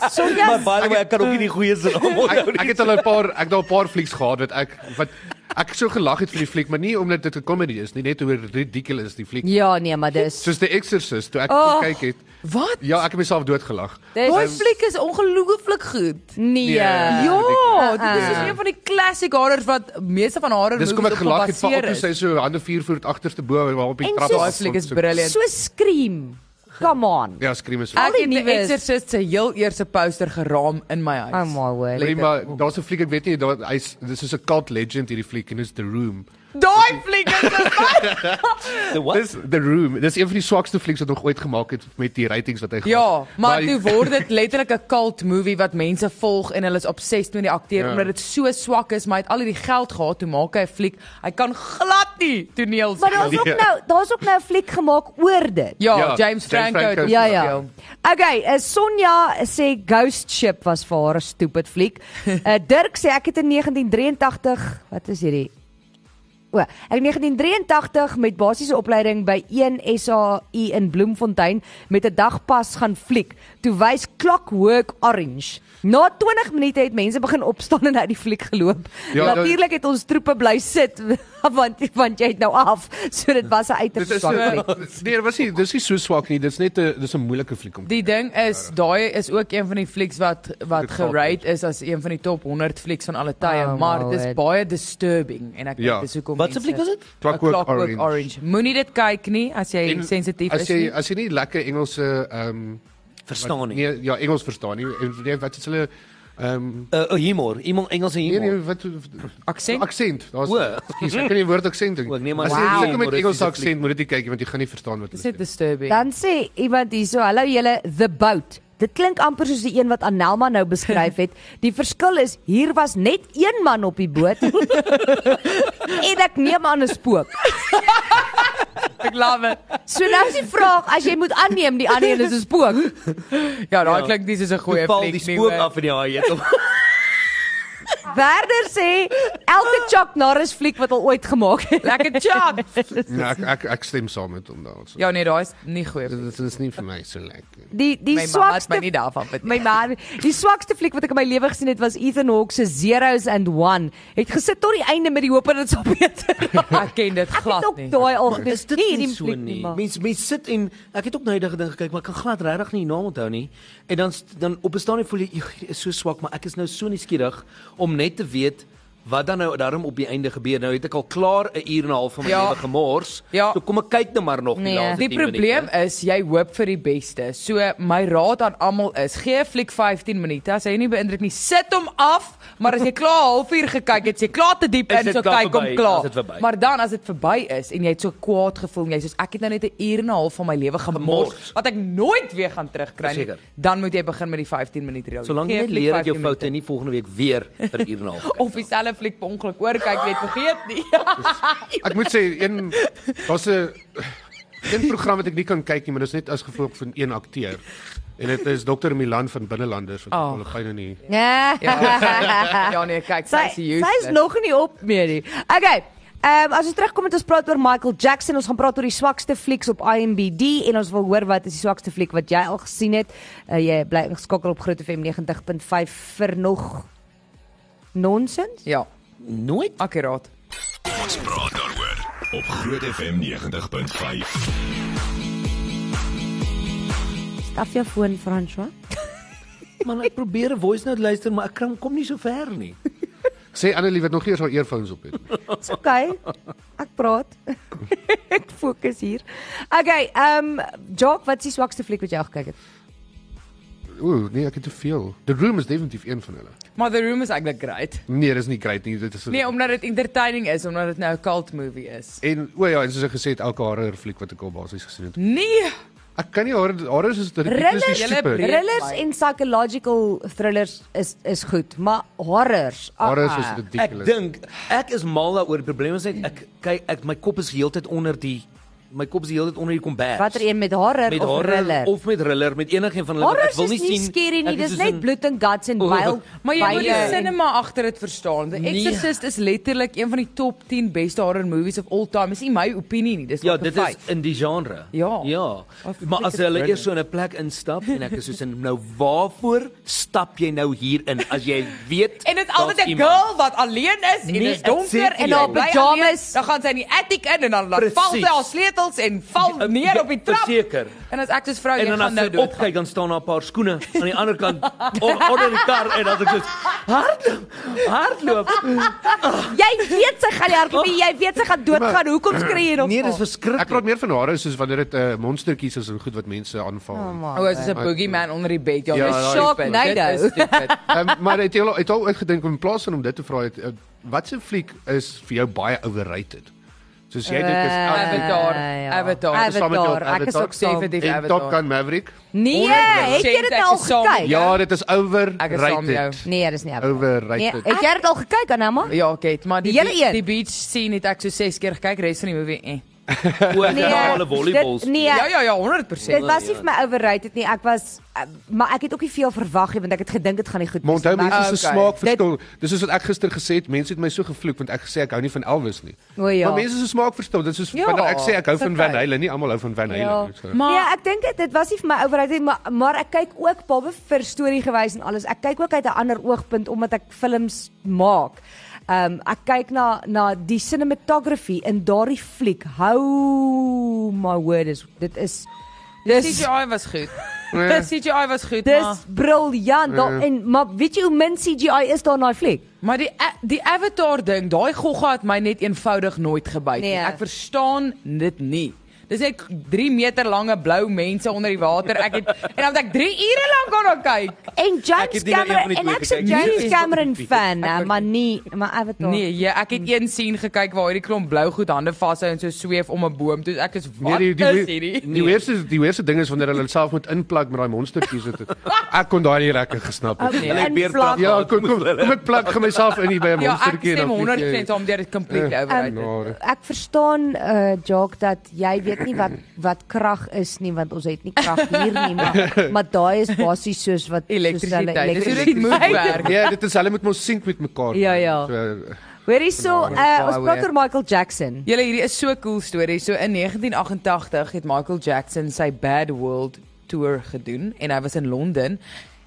Speaker 4: Maar
Speaker 2: Sonja
Speaker 4: by the way, ek kan ook nie die goeie se naam onthou
Speaker 5: Ek,
Speaker 4: nie.
Speaker 5: ek het al 'n paar ek het al 'n paar flieks gehad wat ek wat ek so gelag het vir die fliek, maar nie omdat dit 'n comedy is nie, net hoe ridiculous die fliek.
Speaker 2: Ja, nee, maar dis
Speaker 5: Soos The Exorcist toe ek
Speaker 2: Oh.
Speaker 5: oh. kyk het.
Speaker 3: Wat?
Speaker 5: Ja, ek het myself doodgelag.
Speaker 2: dis
Speaker 3: Daai fliek is ongelooflik goed.
Speaker 2: nee.
Speaker 5: Ja. Ah.
Speaker 3: Ja, dit is
Speaker 2: Uh-uh.
Speaker 3: soos een van die classic horrors wat meeste van horror
Speaker 5: Dis kom ek
Speaker 3: movies op
Speaker 5: gelag het vir
Speaker 3: gebaseer
Speaker 5: altyd
Speaker 3: is.
Speaker 5: sy so hande viervoet agterste bo waar op die
Speaker 2: En
Speaker 5: trap.
Speaker 2: soos-
Speaker 3: Daai
Speaker 5: afkom,
Speaker 3: fliek is
Speaker 5: so-
Speaker 3: brilliant.
Speaker 2: So skream. Come on.
Speaker 5: Ja, skream is.
Speaker 2: Al
Speaker 3: Ek
Speaker 2: die
Speaker 3: het die
Speaker 2: nuwe is-
Speaker 3: Exorcist se heel eerste poster geraam in my huis.
Speaker 2: Oh my word.
Speaker 5: Nee, maar daar's 'n fliek ek weet nie, daar hy's dis is 'n cult legend hierdie fliek en dis The Room.
Speaker 3: Daai fliek is so
Speaker 4: The what?
Speaker 5: Dis The Room. Dis een van die swakste flieks wat nog ooit gemaak het met die ratings wat hy gehad
Speaker 3: Ja, maar
Speaker 5: die-
Speaker 3: toe word dit letterlik 'n cult movie wat mense volg en hulle is obsessed met die akteur
Speaker 5: Ja.
Speaker 3: omdat dit so swak is, maar hy het al hierdie geld gehad toe maak hy 'n fliek. Hy kan glad nie toneel
Speaker 2: Maar daar's ook
Speaker 5: Ja.
Speaker 2: nou, daar's ook nou 'n fliek gemaak oor dit.
Speaker 3: Ja,
Speaker 5: Ja,
Speaker 3: James,
Speaker 5: James
Speaker 3: Franco. het
Speaker 5: Franco
Speaker 3: dit
Speaker 5: is
Speaker 2: Ja,
Speaker 5: dit
Speaker 2: ja.
Speaker 3: gespeel.
Speaker 2: Okay, uh, Sonja sê Ghost Ship was vir haar 'n stupid fliek. Uh, Dirk sê ek het in 1983, wat is hierdie? O, ek het in 1983 met basiese opleiding by 1 SAU in Bloemfontein met 'n dagpas gaan fliek. Toe wys Clockwork Orange. Na 20 minute het mense begin opstaan en uit die fliek geloop.
Speaker 5: Ja,
Speaker 2: Ja,
Speaker 5: dat-
Speaker 2: Natuurlik het ons troepe bly sit want want jy het nou af. So dit was 'n
Speaker 5: Dit
Speaker 2: uiters
Speaker 5: is
Speaker 2: swak fliek.
Speaker 5: Nee, dit was nie dis nie so swak nie. Dis net 'n dis 'n moeilike fliek om.
Speaker 3: Die ding is, daai is ook een van die flieks wat wat
Speaker 5: Dit geld
Speaker 3: gerate is as een van die top 100 flieks van alle tye,
Speaker 2: Oh,
Speaker 3: maar
Speaker 2: my
Speaker 3: dit is
Speaker 2: word.
Speaker 3: baie disturbing en ek dink
Speaker 5: Ja.
Speaker 3: dis hoekom.
Speaker 4: Ah, Wat se
Speaker 3: mense-
Speaker 4: fliek was dit?
Speaker 5: Clockwork
Speaker 3: A
Speaker 5: Orange.
Speaker 3: Moenie dit kyk nie as jy
Speaker 5: En
Speaker 3: sensitief
Speaker 5: As
Speaker 3: is.
Speaker 5: jy
Speaker 3: nie.
Speaker 5: as jy nie lekker Engelse ehm um,
Speaker 4: Verstaan nie.
Speaker 5: Nee, ja, Engels verstaan nie. En nee, wat is hulle ehm um,
Speaker 4: Uh, uh, humor, iemand Engelse
Speaker 5: nee,
Speaker 4: humor.
Speaker 5: nee, wat
Speaker 3: Aksent?
Speaker 5: Aksent. Daar's
Speaker 4: O.
Speaker 5: ekskuus, ek kan nie die woord aksent dink.
Speaker 4: Ook nie, maar-
Speaker 5: as jy
Speaker 2: Wow.
Speaker 5: sukkel met
Speaker 4: Humor is
Speaker 5: Engels
Speaker 4: die fliek.
Speaker 5: aksent, moet dit nie kyk nie, want jy gaan nie verstaan wat
Speaker 3: Dis
Speaker 5: hulle
Speaker 3: net
Speaker 5: sê.
Speaker 3: disturbing.
Speaker 2: Dan sê iemand hierso, hallo julle, the boat. Dit klink amper soos die een wat Anelma nou beskryf het. Die verskil is hier was net een man op die boot. en ek neem aan 'n spook.
Speaker 3: ek love it.
Speaker 2: So nou is die vraag, as jy moet aanneem die ander een is 'n spook.
Speaker 3: Ja, daai
Speaker 4: Ja.
Speaker 3: klink dis is 'n goeie
Speaker 4: Toe val
Speaker 3: fliek.
Speaker 4: die
Speaker 3: nie,
Speaker 4: spook
Speaker 3: hoor.
Speaker 4: af in die haai het hom.
Speaker 2: Werder sê elke Chuck Norris fliek wat al ooit gemaak het.
Speaker 3: Lekker chat.
Speaker 5: Nee, ek ek ek stem saam met hom daaroor.
Speaker 3: ja nee, daai is nie goeie.
Speaker 5: Dit
Speaker 3: fliek.
Speaker 5: dit is nie vir my so lekker.
Speaker 2: Die die
Speaker 3: My ma het my
Speaker 2: swakste
Speaker 3: nie daarvan bet.
Speaker 2: My man, die swakste fliek wat ek in my lewe gesien het was Ethan Hawke se Zeros and One. Het gesit tot die einde met die hoop dat dit sou beter raak.
Speaker 3: Ek ken dit
Speaker 2: Ek het
Speaker 3: glad
Speaker 2: ook
Speaker 3: nie.
Speaker 2: daai al gedoen.
Speaker 4: Is dit
Speaker 2: Nee,
Speaker 4: nie
Speaker 2: die
Speaker 4: so
Speaker 2: fliek
Speaker 4: nie?
Speaker 2: maar-
Speaker 4: Mense mense sit en ek het ook nou die ding gekyk, maar ek kan glad regtig nie die naam onthou nie. En dan st- dan op 'n stadium voel jy "Joe, hier is so swak, maar ek is nou so nuuskierig om net te weet Wat dan nou daarom op die einde gebeur? Nou het ek al klaar 'n uur en 'n half van my
Speaker 3: Ja.
Speaker 4: lewe gemors.
Speaker 3: Ja.
Speaker 4: So kom ek kyk nou maar nog die
Speaker 2: Nee.
Speaker 4: laaste
Speaker 3: Die
Speaker 4: 10 minute.
Speaker 3: probleem is jy hoop vir die beste. So my raad aan almal is, gee 'n fliek 15 minute. As hy nie beïndruk nie, sit hom af, maar as jy klaar 'n halfuur gekyk het, sê klaar te diep
Speaker 4: Is
Speaker 3: in,
Speaker 4: dit
Speaker 3: so
Speaker 4: klaar
Speaker 3: kyk hom
Speaker 4: verby? Is dit
Speaker 3: klaar.
Speaker 4: verby?
Speaker 3: Maar dan as dit verby is en jy het so kwaad gevoel en jy sê ek het nou net 'n uur en 'n half van my lewe gemors
Speaker 4: Gemors.
Speaker 3: wat ek nooit weer gaan terugkry nie,
Speaker 4: Verseker.
Speaker 3: dan moet jy begin met die 15 minute reël.
Speaker 4: Solank
Speaker 3: Gee
Speaker 4: jy net
Speaker 3: 'n fliek
Speaker 4: leer dat jou
Speaker 3: 15
Speaker 4: foute
Speaker 3: minute.
Speaker 4: nie volgende week weer vir 'n uur en 'n half kyk.
Speaker 3: of dieselfde fliek per ongeluk oorkyk, jy het vergeet nie.
Speaker 5: Ek moet sê een daar's 'n een program wat ek nie kan kyk nie, maar dit is net as gevolg van een akteur. En dit is Dr Milan van Binnelanders wat
Speaker 3: Ag.
Speaker 5: hulle pyn in die
Speaker 2: Ja.
Speaker 3: ja nee, kyk, sy
Speaker 2: Nee. Sy
Speaker 3: is
Speaker 2: sy is
Speaker 3: useless.
Speaker 2: nog nie op meer nie. Okay. Ehm um, as ons terugkom het ons praat oor Michael Jackson, ons gaan praat oor die swakste flieks op IMDb en ons wil hoor wat is die swakste fliek wat jy al gesien het. Uh, jy bly ingeskakel op Groot FM 90.5 vir nog nonsens.
Speaker 3: Ja,
Speaker 4: Nooit
Speaker 3: akuraat.
Speaker 1: Ons praat daaroor op Groot FM 90.5.
Speaker 2: Staf jou foon François.
Speaker 4: man ek probeer 'n voice note luister, maar ek kan- kom nie so ver nie.
Speaker 5: Sê Annelie wat nog eers haar earphones op het.
Speaker 2: Dis okay. Ek praat. Ek fokus hier. Okay, ehm um, Jock, wat is die swakste fliek wat jy al gekyk het?
Speaker 5: Ooh, nee, ek het te veel. The Room is definitief een van hulle.
Speaker 3: Maar the room is eintlik great.
Speaker 5: Nee, dis nie great nie. Dit is
Speaker 3: Nee, omdat dit entertaining is, omdat dit nou 'n cult movie is.
Speaker 5: En o ja, en soos ek gesê het, elke horror fliek wat ek al basies gesien het.
Speaker 3: Nee,
Speaker 5: Ek kan nie horror horror is ridiculously
Speaker 2: Thrillers,
Speaker 3: Julle
Speaker 5: stupid.
Speaker 3: breek-
Speaker 2: thrillers en psychological thrillers is is goed, maar horrors. ah,
Speaker 5: Horror
Speaker 2: ah.
Speaker 5: is
Speaker 4: Ek
Speaker 5: ridiculous.
Speaker 4: dink ek is mal daaroor. Die probleem is net ek kyk ek my kop is heeltyd onder die my kop is heeltyd onder die kombers.
Speaker 2: Watter een met horror
Speaker 4: met
Speaker 2: of thriller?
Speaker 4: of met thriller met enigiemand van hulle want
Speaker 2: Horrors
Speaker 4: ek wil nie
Speaker 2: is nie
Speaker 4: sien
Speaker 2: skerry nie,
Speaker 4: ek
Speaker 2: dis
Speaker 4: soos
Speaker 2: net
Speaker 4: in-
Speaker 2: bloed en guts en
Speaker 4: O,
Speaker 2: byl.
Speaker 3: maar jy moet die
Speaker 2: byle.
Speaker 3: cinema agter dit verstaan. The
Speaker 4: Nee.
Speaker 3: Exorcist is letterlik een van die top 10 beste horror movies of all time. Dis nie my opinie nie, dis
Speaker 4: Ja,
Speaker 3: like a
Speaker 4: dit is
Speaker 3: feit.
Speaker 4: in die genre.
Speaker 3: Ja.
Speaker 4: Ja.
Speaker 3: Of
Speaker 4: Maar as
Speaker 3: flikker-
Speaker 4: hulle eers so in 'n plek instap en ek is soos in nou waarvoor stap jy nou hier in as jy weet
Speaker 3: En dit is
Speaker 4: daar's
Speaker 3: altyd 'n
Speaker 4: iemand?
Speaker 3: girl wat alleen is en dit
Speaker 4: Nee,
Speaker 3: is donker
Speaker 4: exactly.
Speaker 3: en haar
Speaker 2: Ja.
Speaker 3: bly
Speaker 2: Pyjamas.
Speaker 3: pyjamas. Dan gaan sy in die attic in en dan laat
Speaker 4: Precies.
Speaker 3: val sy haar sleutels en val
Speaker 4: Ja,
Speaker 3: neer op die trap.
Speaker 4: verseker.
Speaker 3: En as ek dis vrou, jy
Speaker 4: En dan
Speaker 3: gaan
Speaker 4: as
Speaker 3: nou
Speaker 4: ek
Speaker 3: dood.
Speaker 4: opkyk dan staan daar 'n paar skoene aan die ander kant on- onder die kar en dan ek so hardloop hardloop.
Speaker 2: Jy weet sy gaan hardloop, jy weet sy gaan doodgaan. Hoekom skree jy nog?
Speaker 4: Nee, dis
Speaker 5: Ek
Speaker 4: verskriklik.
Speaker 5: praat meer van horror soos wanneer dit 'n uh, monstertjies is en goed wat mense aanval.
Speaker 3: O, oh, dis 'n boogeyman onder die bed. Ja,
Speaker 5: Ja,
Speaker 3: dis
Speaker 5: ja,
Speaker 3: stupid.
Speaker 2: Sharknado.
Speaker 3: Dit is stupid.
Speaker 5: um, maar het jy al het al uitgedink om in plaas van om dit te vra het uh, watse fliek is vir jou baie overrated? Soos jy dink is elke
Speaker 3: Avatar. Avatar.
Speaker 5: Dis saam met jou
Speaker 2: Eh, ja. Avatar. Ek is
Speaker 5: Avatar.
Speaker 2: ook saam.
Speaker 3: Definitief
Speaker 5: en Top
Speaker 3: Avatar.
Speaker 5: Gun Maverick.
Speaker 2: Nee,
Speaker 3: 100%
Speaker 2: het jy dit
Speaker 3: ek
Speaker 2: al
Speaker 3: is saam met
Speaker 2: gekyk?
Speaker 3: jou.
Speaker 5: Ja, dit is
Speaker 3: Ek is saam met jou.
Speaker 5: overrated.
Speaker 2: Nee, dis nie.
Speaker 5: Oh,
Speaker 2: Avatar. Nee,
Speaker 5: Overrated.
Speaker 2: het jy dit al gekyk, Anama?
Speaker 3: Ja, okay, maar die
Speaker 2: Die hele
Speaker 3: die,
Speaker 2: een?
Speaker 3: die beach scene het ek so 6 keer gekyk, res van die movie. Eh.
Speaker 4: Ook nee, na alle volleybal.
Speaker 2: dit- Nee,
Speaker 3: Ja ja ja, 100%.
Speaker 2: Dit was nie vir my overrated nie. Ek was eh, maar ek het ook nie veel verwag nie want ek het gedink dit gaan nie goed
Speaker 5: Monthou
Speaker 2: Maar-
Speaker 5: mense se
Speaker 3: Okay.
Speaker 5: smaakverskil. Dis soos wat ek gister gesê het, mense het my so gevloek want ek gesê ek hou nie van Elvis nie.
Speaker 2: O, ja.
Speaker 5: Maar mense se smaakverskil, dit is soos
Speaker 3: Ja,
Speaker 5: wanneer ek sê ek hou
Speaker 3: dis
Speaker 5: van
Speaker 3: okay.
Speaker 5: Van Halen, nie almal hou van Van Halen nie. So.
Speaker 3: Maar
Speaker 2: ja, ek dink dit dit was nie vir my overrated nie, maar maar ek kyk ook behalwe vir storie gewys en alles. Ek kyk ook uit 'n ander oogpunt omdat ek films maak. Ehm um, ek kyk na na die cinematography in daardie fliek. Hou my word is dit is dis
Speaker 3: CGI was goed.
Speaker 5: Ja.
Speaker 3: Dis CGI was goed, maar
Speaker 2: dis briljant daar en maar weet jy hoe min CGI is daar in daai fliek?
Speaker 3: maar die a- die Avatar ding, daai gogga het my net eenvoudig nooit gebyt nie.
Speaker 2: Nee.
Speaker 3: Ek verstaan dit nie. Dis net 3 meter lange blou mense onder die water. Ek het en dan het ek 3 ure lank aan hom kyk.
Speaker 2: En
Speaker 4: Ek
Speaker 2: James
Speaker 4: het nie na een van
Speaker 2: Cameron
Speaker 4: die
Speaker 2: en
Speaker 4: twee
Speaker 2: ek se
Speaker 4: gekyk
Speaker 3: nie.
Speaker 2: James
Speaker 3: Nee.
Speaker 2: Cameron fan,
Speaker 3: Ek
Speaker 2: hè,
Speaker 3: ook
Speaker 2: maar nie maar Avatar.
Speaker 3: Nee, ja, ek het een scene gekyk waar hierdie klomp blou goed hande vashou en so sweef om 'n boom. Toe ek is wat
Speaker 5: Nee, die
Speaker 3: nou is
Speaker 5: die
Speaker 3: hierdie?
Speaker 5: die, die eerste die eerste ding is wanneer hulle self moet inplak met daai monstertjies wat ek kon daai nie lekker gesnap het.
Speaker 2: Okay.
Speaker 5: nie.
Speaker 4: Hulle
Speaker 2: En
Speaker 4: weer
Speaker 2: vlak-
Speaker 4: praat.
Speaker 5: Ja, kom kom kom ek plak gaan myself in hier by 'n
Speaker 3: Ja, ek
Speaker 5: monstertjie Ja.
Speaker 3: stem
Speaker 5: en dan vlieg jy-
Speaker 3: 100% om dit is completely
Speaker 2: Ehm,
Speaker 3: overrated.
Speaker 5: Nare.
Speaker 2: Ek verstaan eh uh, Jock dat jy weet nie wat wat krag is nie want ons het nie krag hier nie maar maar daai is basies soos wat soos hulle
Speaker 3: Elektrisiteit. Dis hoe dit moet
Speaker 2: elektrisiteit.
Speaker 3: werk.
Speaker 5: Ja, dit is hulle moet mos sink met mekaar.
Speaker 2: Ja, ja.
Speaker 5: So,
Speaker 2: Hoor hierso, uh, ons praat
Speaker 3: Baie.
Speaker 2: oor Michael Jackson.
Speaker 3: Julle hierdie is so 'n cool storie. So in 1988 het Michael Jackson sy Bad World toer gedoen en hy was in Londen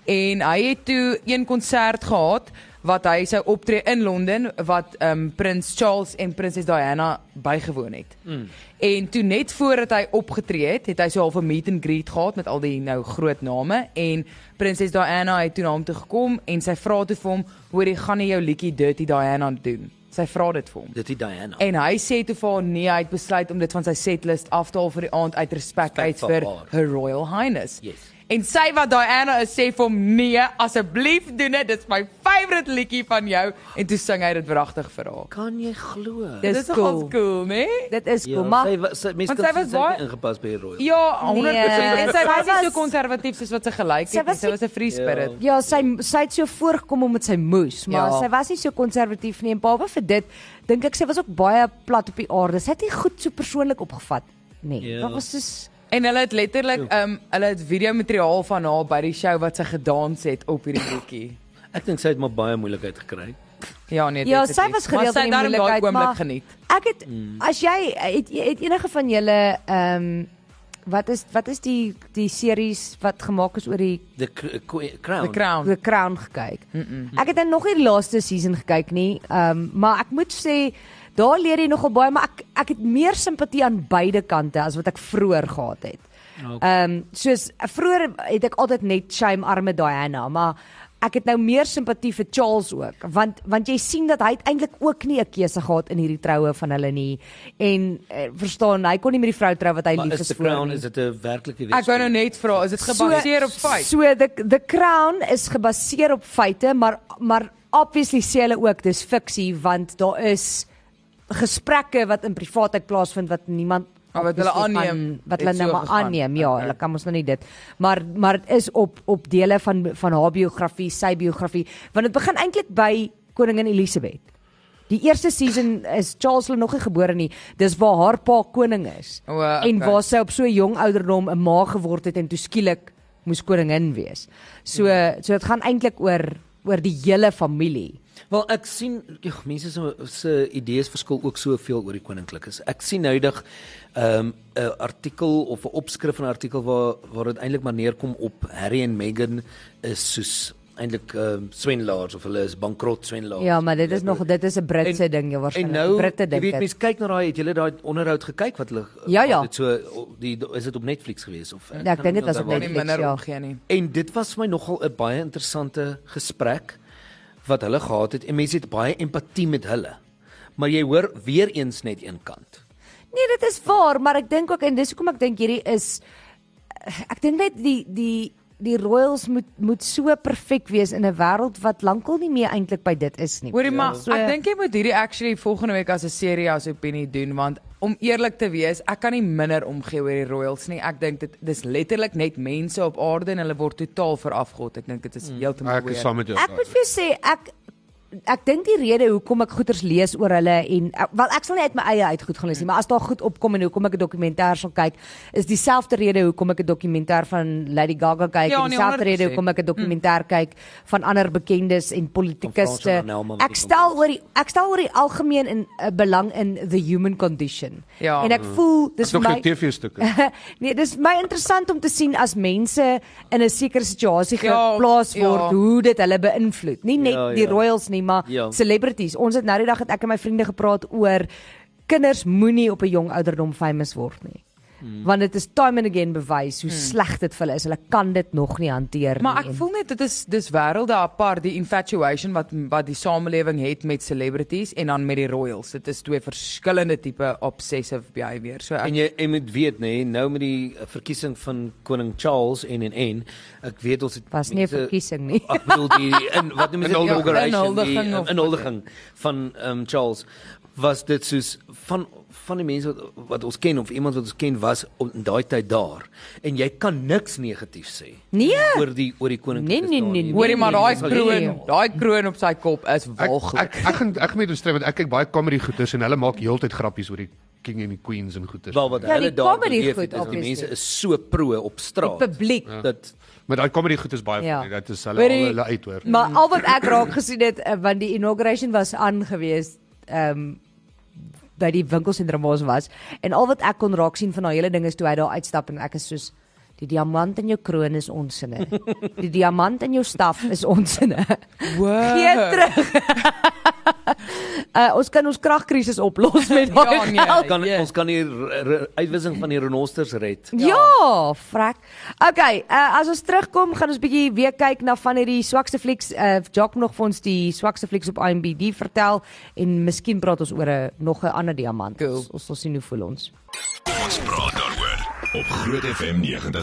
Speaker 3: en hy het toe een konsert gehad wat hy sou optree in Londen wat um Prins Charles en Prinses Diana bygewoon het. Mm. En toe net voordat hy opgetree het, het hy so half 'n meet and greet gehad met al die nou groot name en Prinses Diana het toe na hom toe gekom en sy vra toe vir hom, "Hoor jy gaan nie jou liedjie Dirty Diana doen?" Sy vra dit vir hom.
Speaker 4: Dit is Diana.
Speaker 3: En hy sê toe vir haar nee, hy het besluit om dit van sy setlist af te haal vir die aand uit respek
Speaker 4: Respek
Speaker 3: uit
Speaker 4: vir
Speaker 3: vir
Speaker 4: haar.
Speaker 3: Her Royal Highness.
Speaker 4: Yes.
Speaker 3: En sy wat Diana is sê vir hom nee, asseblief doen dit, dit's my favourite liedjie van jou en toe sing hy dit pragtig vir haar.
Speaker 4: kan jy glo?
Speaker 2: Dis
Speaker 3: Dit is
Speaker 2: cool.
Speaker 3: nogal cool, né? Nee?
Speaker 2: Dit is
Speaker 4: Ja,
Speaker 2: cool, maar
Speaker 4: sy wa- sy mense
Speaker 3: Want
Speaker 4: kan
Speaker 3: sy was
Speaker 4: sien sy het
Speaker 3: baie-
Speaker 4: ingepas by die Royal.
Speaker 3: Ja, 100%. Nee, en sy
Speaker 2: sy
Speaker 3: was nie so
Speaker 2: was-
Speaker 3: konservatief soos wat sy gelyk
Speaker 2: Sy
Speaker 3: het. nie.
Speaker 2: was
Speaker 3: Sy
Speaker 2: nie-
Speaker 3: was 'n free spirit.
Speaker 2: Ja, sy sy het so voorgekom om met sy moes, maar
Speaker 3: Ja.
Speaker 2: sy was nie so konservatief nie en behalwe vir dit, dink ek sy was ook baie plat op die aarde. Sy het nie goed so persoonlik opgevat nie.
Speaker 4: Ja.
Speaker 2: Wat was soos
Speaker 3: En hulle het letterlik ehm um, hulle het videomateriaal van haar by die show wat sy gedans het op hierdie liedjie.
Speaker 4: Ek dink sy het maar baie moeilikheid gekry.
Speaker 3: Ja nee,
Speaker 2: Ja,
Speaker 3: definitief.
Speaker 2: sy was gereeld
Speaker 3: maar sy
Speaker 2: in die
Speaker 3: het daarom daai
Speaker 2: moeilikheid,
Speaker 3: oomblik
Speaker 2: maar-
Speaker 3: geniet.
Speaker 2: Ek het as jy het, het enige van julle ehm wat is wat is die die series wat gemaak is oor die
Speaker 4: The cr- qu- Crown.
Speaker 3: The Crown.
Speaker 2: The Crown gekyk? Mm -mm. Ek het nou nog nie die laaste season gekyk nie. Ehm maar ek moet sê daar leer jy nogal baie, maar ek ek het meer simpatie aan beide kante as wat ek vroeër gehad het. Ehm soos vroeër het ek altyd net shame arme Diana, maar ek het nou meer simpatie vir Charles ook want want jy sien dat hy het eintlik ook nie 'n keuse gehad in hierdie troue van hulle nie en eh, verstaan hy kon nie met die vrou trou wat hy
Speaker 4: Maar
Speaker 2: lief
Speaker 4: is
Speaker 2: is
Speaker 4: The
Speaker 2: vir nie.
Speaker 4: Crown is dit 'n werklike
Speaker 3: Ek wou nou net vra, is dit gebaseer op feit?
Speaker 2: So the the Crown is gebaseer op feite, maar maar obviously sê hulle ook dis fiksie want daar is gesprekke wat in privaatheid plaasvind wat niemand
Speaker 3: Maar Ah, wat hulle
Speaker 2: obviously
Speaker 3: aanneem,
Speaker 2: gaan- wat
Speaker 3: het
Speaker 2: hulle nou
Speaker 3: so
Speaker 2: maar
Speaker 3: gegaan.
Speaker 2: aanneem ja
Speaker 3: Okay.
Speaker 2: hulle kan ons nou nie dit maar maar dit is op op dele van van haar biografie sy biografie want dit begin eintlik by koningin Elisabeth Die eerste season is Charles hulle nog nie gebore nie. Dis waar haar pa koning is.
Speaker 3: O, okay.
Speaker 2: En waar sy op so jong ouderdom 'n ma geword het en toe skielik moes koningin wees. So so dit gaan eintlik oor oor die hele familie.
Speaker 4: Wel ek sien ja, mense se se idees verskil ook soveel oor die koninklikes. Ek sien noudag 'n um, 'n artikel of 'n opskrif van 'n artikel waar waar dit eintlik maar neerkom op Harry en Meghan is soos eintlik um, swendelaars of hulle is bankrot swendelaars.
Speaker 2: Ja, maar dit is nog dit is 'n Britse ding jy
Speaker 4: En
Speaker 2: waarskynlik.
Speaker 4: nou,
Speaker 2: Britte
Speaker 4: jy
Speaker 2: dink
Speaker 4: weet
Speaker 2: dit.
Speaker 4: mense kyk na daai, het julle daai onderhoud gekyk wat hulle
Speaker 2: Ja, ja.
Speaker 4: dit so o- die is dit op Netflix gewees of eh,
Speaker 2: Ja, ek
Speaker 4: kan
Speaker 2: dink
Speaker 4: nie
Speaker 2: dit was op
Speaker 4: onthou waar
Speaker 3: Kan nie
Speaker 4: nie.
Speaker 2: Netflix,
Speaker 3: minder
Speaker 2: ja.
Speaker 3: omgee nou nie.
Speaker 4: En dit was vir my nogal 'n baie interessante gesprek wat hulle gehad het en mense het baie empatie met hulle. Maar jy hoor weer eens net een kant.
Speaker 2: Nee, dit is waar, maar ek dink ook en dis hoekom ek dink hierdie is ek dink net die die die royals moet moet so perfek wees in 'n wêreld wat lankal nie meer eintlik by dit is nie.
Speaker 3: Hoorie maar,
Speaker 2: So-
Speaker 3: ek dink jy moet hierdie actually volgende week as 'n serie as opinie doen want om eerlik te wees, ek kan nie minder omgee oor die royals nie. Ek dink dit dis letterlik net mense op aarde en hulle word totaal verafgod. Ek dink dit
Speaker 2: Mm.
Speaker 3: is heeltemal
Speaker 5: Ek is
Speaker 3: weer.
Speaker 5: saam met jou.
Speaker 2: Ek moet vir jou sê ek ek dink die rede hoekom ek goeters lees oor hulle en ek- wel ek sal nie uit my eie uit goed gaan lees nie, maar as daar goed opkom en hoekom ek 'n dokumentêr sal kyk, is dieselfde rede hoekom ek 'n dokumentêr van Lady Gaga kyk
Speaker 3: Ja,
Speaker 2: en
Speaker 3: nee,
Speaker 2: dieselfde rede
Speaker 3: 100%.
Speaker 2: hoekom ek 'n dokumentêr kyk van ander bekendes en politikuste.
Speaker 4: Van Frans van Anelma met
Speaker 2: Ek
Speaker 4: die
Speaker 2: stel oor die ek stel oor die algemeen in uh, belang in the human condition.
Speaker 3: Ja.
Speaker 2: En ek voel dis
Speaker 5: Dis
Speaker 2: vir
Speaker 5: nog
Speaker 2: my
Speaker 5: 'n TV-stukke.
Speaker 2: nee, dis my interessant om te sien as mense in 'n sekere situasie
Speaker 3: Ja,
Speaker 2: geplaas word,
Speaker 3: ja.
Speaker 2: hoe dit hulle beïnvloed. Nie net
Speaker 4: Ja,
Speaker 2: die
Speaker 4: ja.
Speaker 2: royals nie, maar
Speaker 4: Ja.
Speaker 2: celebrities. Ons het nou die dag het ek en my vriende gepraat oor kinders moenie op 'n jong ouderdom famous word nie. Hmm. Want dit is time and again bewys hoe hmm. sleg dit vir hulle is. Hulle kan dit nog nie hanteer
Speaker 3: Maar
Speaker 2: nie.
Speaker 3: ek voel net dit is dis wêrelde apart die infatuation wat wat die samelewing het met celebrities en dan met die royals. Dit is twee verskillende tipe obsessive behavior. So ek
Speaker 4: En jy en moet weet nê, nee, nou met die eh, verkiesing van koning Charles en en en ek weet ons het
Speaker 2: Was nie 'n
Speaker 4: mense-
Speaker 2: verkiesing nie.
Speaker 4: Ek bedoel die in wat noem jy dit Ja,
Speaker 5: Inhuldiging.
Speaker 4: inauguration, die
Speaker 3: Inhuldiging of-
Speaker 4: eh, inhuldiging van um, Charles was dit soos van van die mense wat wat ons ken of iemand wat ons ken was op in daai tyd daar en jy kan niks negatief sê
Speaker 2: Nee.
Speaker 4: oor die oor die koning
Speaker 2: Nee, nee, nee, nee.
Speaker 3: hoorie maar daai
Speaker 2: nee, nee.
Speaker 3: kroon, daai kroon op sy kop is
Speaker 5: Ek
Speaker 3: walglik.
Speaker 5: ek ek gaan ek gaan met jou stryd want ek kyk baie comedy goeters en hulle maak heeltyd grappies oor die king en die queens en goeters.
Speaker 4: Wel wat
Speaker 2: Ja, die
Speaker 4: hulle daar
Speaker 2: comedy
Speaker 4: beleef
Speaker 2: goed,
Speaker 4: het, is die
Speaker 2: obviously.
Speaker 4: mense is so pro op straat.
Speaker 2: Die publiek.
Speaker 4: Ja. Dat
Speaker 5: Maar daai comedy goeters baie
Speaker 2: Ja.
Speaker 5: funny. Dit is hulle
Speaker 2: Weet
Speaker 5: al
Speaker 2: jy,
Speaker 5: hulle uit hoor.
Speaker 2: Maar al wat ek raak gesien het eh, want die inauguration was aangewees ehm um, by die winkelsentrum waar ons was en al wat ek kon raak sien van daai hele ding is toe hy daar uitstap en ek is soos Die diamant in jou kroon is onsinne. Die diamant in jou staf is onsinne. Gee terug. uh, ons kan ons kragkrisis oplos met daai
Speaker 3: Ja, nee,
Speaker 2: geld.
Speaker 4: Kan
Speaker 3: Ja.
Speaker 4: ons kan die re- re- uitwissing van die renosters red.
Speaker 2: Ja, frek. Okay, uh, as ons terugkom, gaan ons bietjie weer kyk na van hierdie swakste flieks. Uh Jock nog vir ons die swakste flieks op IMDb vertel en miskien praat ons oor 'n nog 'n ander diamant.
Speaker 3: Cool.
Speaker 2: Ons ons sal sien hoe voel ons.
Speaker 1: Ons praat daaroor op Groot FM 90.5.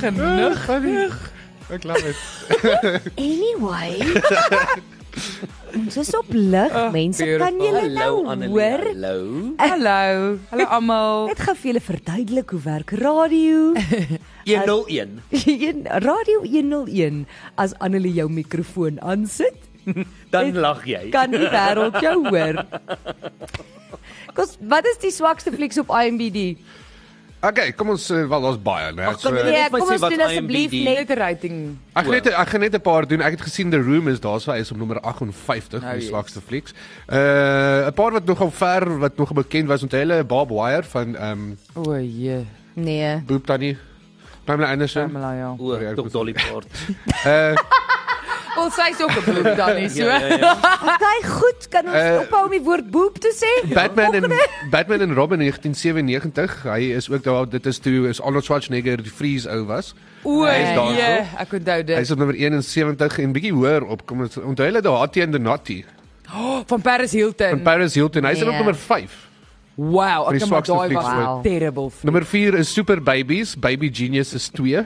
Speaker 3: Genoeg.
Speaker 5: Ek glo dit.
Speaker 2: Anyway. ons is op lig, oh, mense. Kan
Speaker 3: Ah, beautiful.
Speaker 2: julle nou hoor?
Speaker 4: Hallo.
Speaker 3: Hallo. Hallo almal.
Speaker 2: Net gou vir julle verduidelik hoe werk radio.
Speaker 4: 101.
Speaker 2: Een- radio 101 as Annelie jou mikrofoon aansit.
Speaker 4: Dan lag jy.
Speaker 2: kan die wêreld jou hoor. Kos, wat is die swakste flieks op IMDb?
Speaker 5: Okay, kom ons eh, wel daar's baie, né?
Speaker 4: Ag, kan
Speaker 5: So-
Speaker 4: jy
Speaker 2: Nee,
Speaker 4: net my
Speaker 2: kom
Speaker 4: sê
Speaker 2: ons
Speaker 4: wat
Speaker 2: doen asseblief
Speaker 4: IMDb
Speaker 2: net
Speaker 3: Net 'n rating.
Speaker 5: Ek gaan net ek gaan net 'n paar doen. Ek het gesien The Room is daar's waar hy is op nommer 58
Speaker 3: Nou,
Speaker 5: van die
Speaker 3: jy.
Speaker 5: swakste flieks. Uh 'n paar wat nogal ver wat nog bekend was onthou hulle Bob Wire van ehm um,
Speaker 3: O, jee.
Speaker 2: Nee.
Speaker 5: Boop Tannie Pamela Anderson.
Speaker 3: Pamela ja.
Speaker 4: O,
Speaker 5: Sorry, ek
Speaker 4: Dr.
Speaker 5: was-
Speaker 4: Dolly Parton.
Speaker 5: Uh
Speaker 3: Wel sy's ook 'n bloed dan nie so.
Speaker 4: Ja, ja, ja.
Speaker 2: Okay, goed, kan ons
Speaker 5: Eh,
Speaker 2: uh, ophou om die woord boep te sê?
Speaker 5: Batman en Batman en Robin 1997. Hy is ook daar. Dit is toe is Arnold Schwarzenegger die Freeze ou was.
Speaker 3: O,
Speaker 5: Hy is daar,
Speaker 3: jee. Ek onthou
Speaker 5: Hy
Speaker 3: dit.
Speaker 5: is op nommer 71 en bietjie hoër op. Kom ons onthou hulle daar Hattie and the Natty
Speaker 3: Van Paris Hilton.
Speaker 5: van Paris Hilton. Hy is
Speaker 2: Nee.
Speaker 5: op nommer 5.
Speaker 3: Wow,
Speaker 5: Van die
Speaker 3: ek maar
Speaker 5: swakste
Speaker 3: daai was
Speaker 5: flieks
Speaker 2: ooit.
Speaker 3: terrible. fliek.
Speaker 5: Nommer 4 is Super Babies. Baby Genius is 2.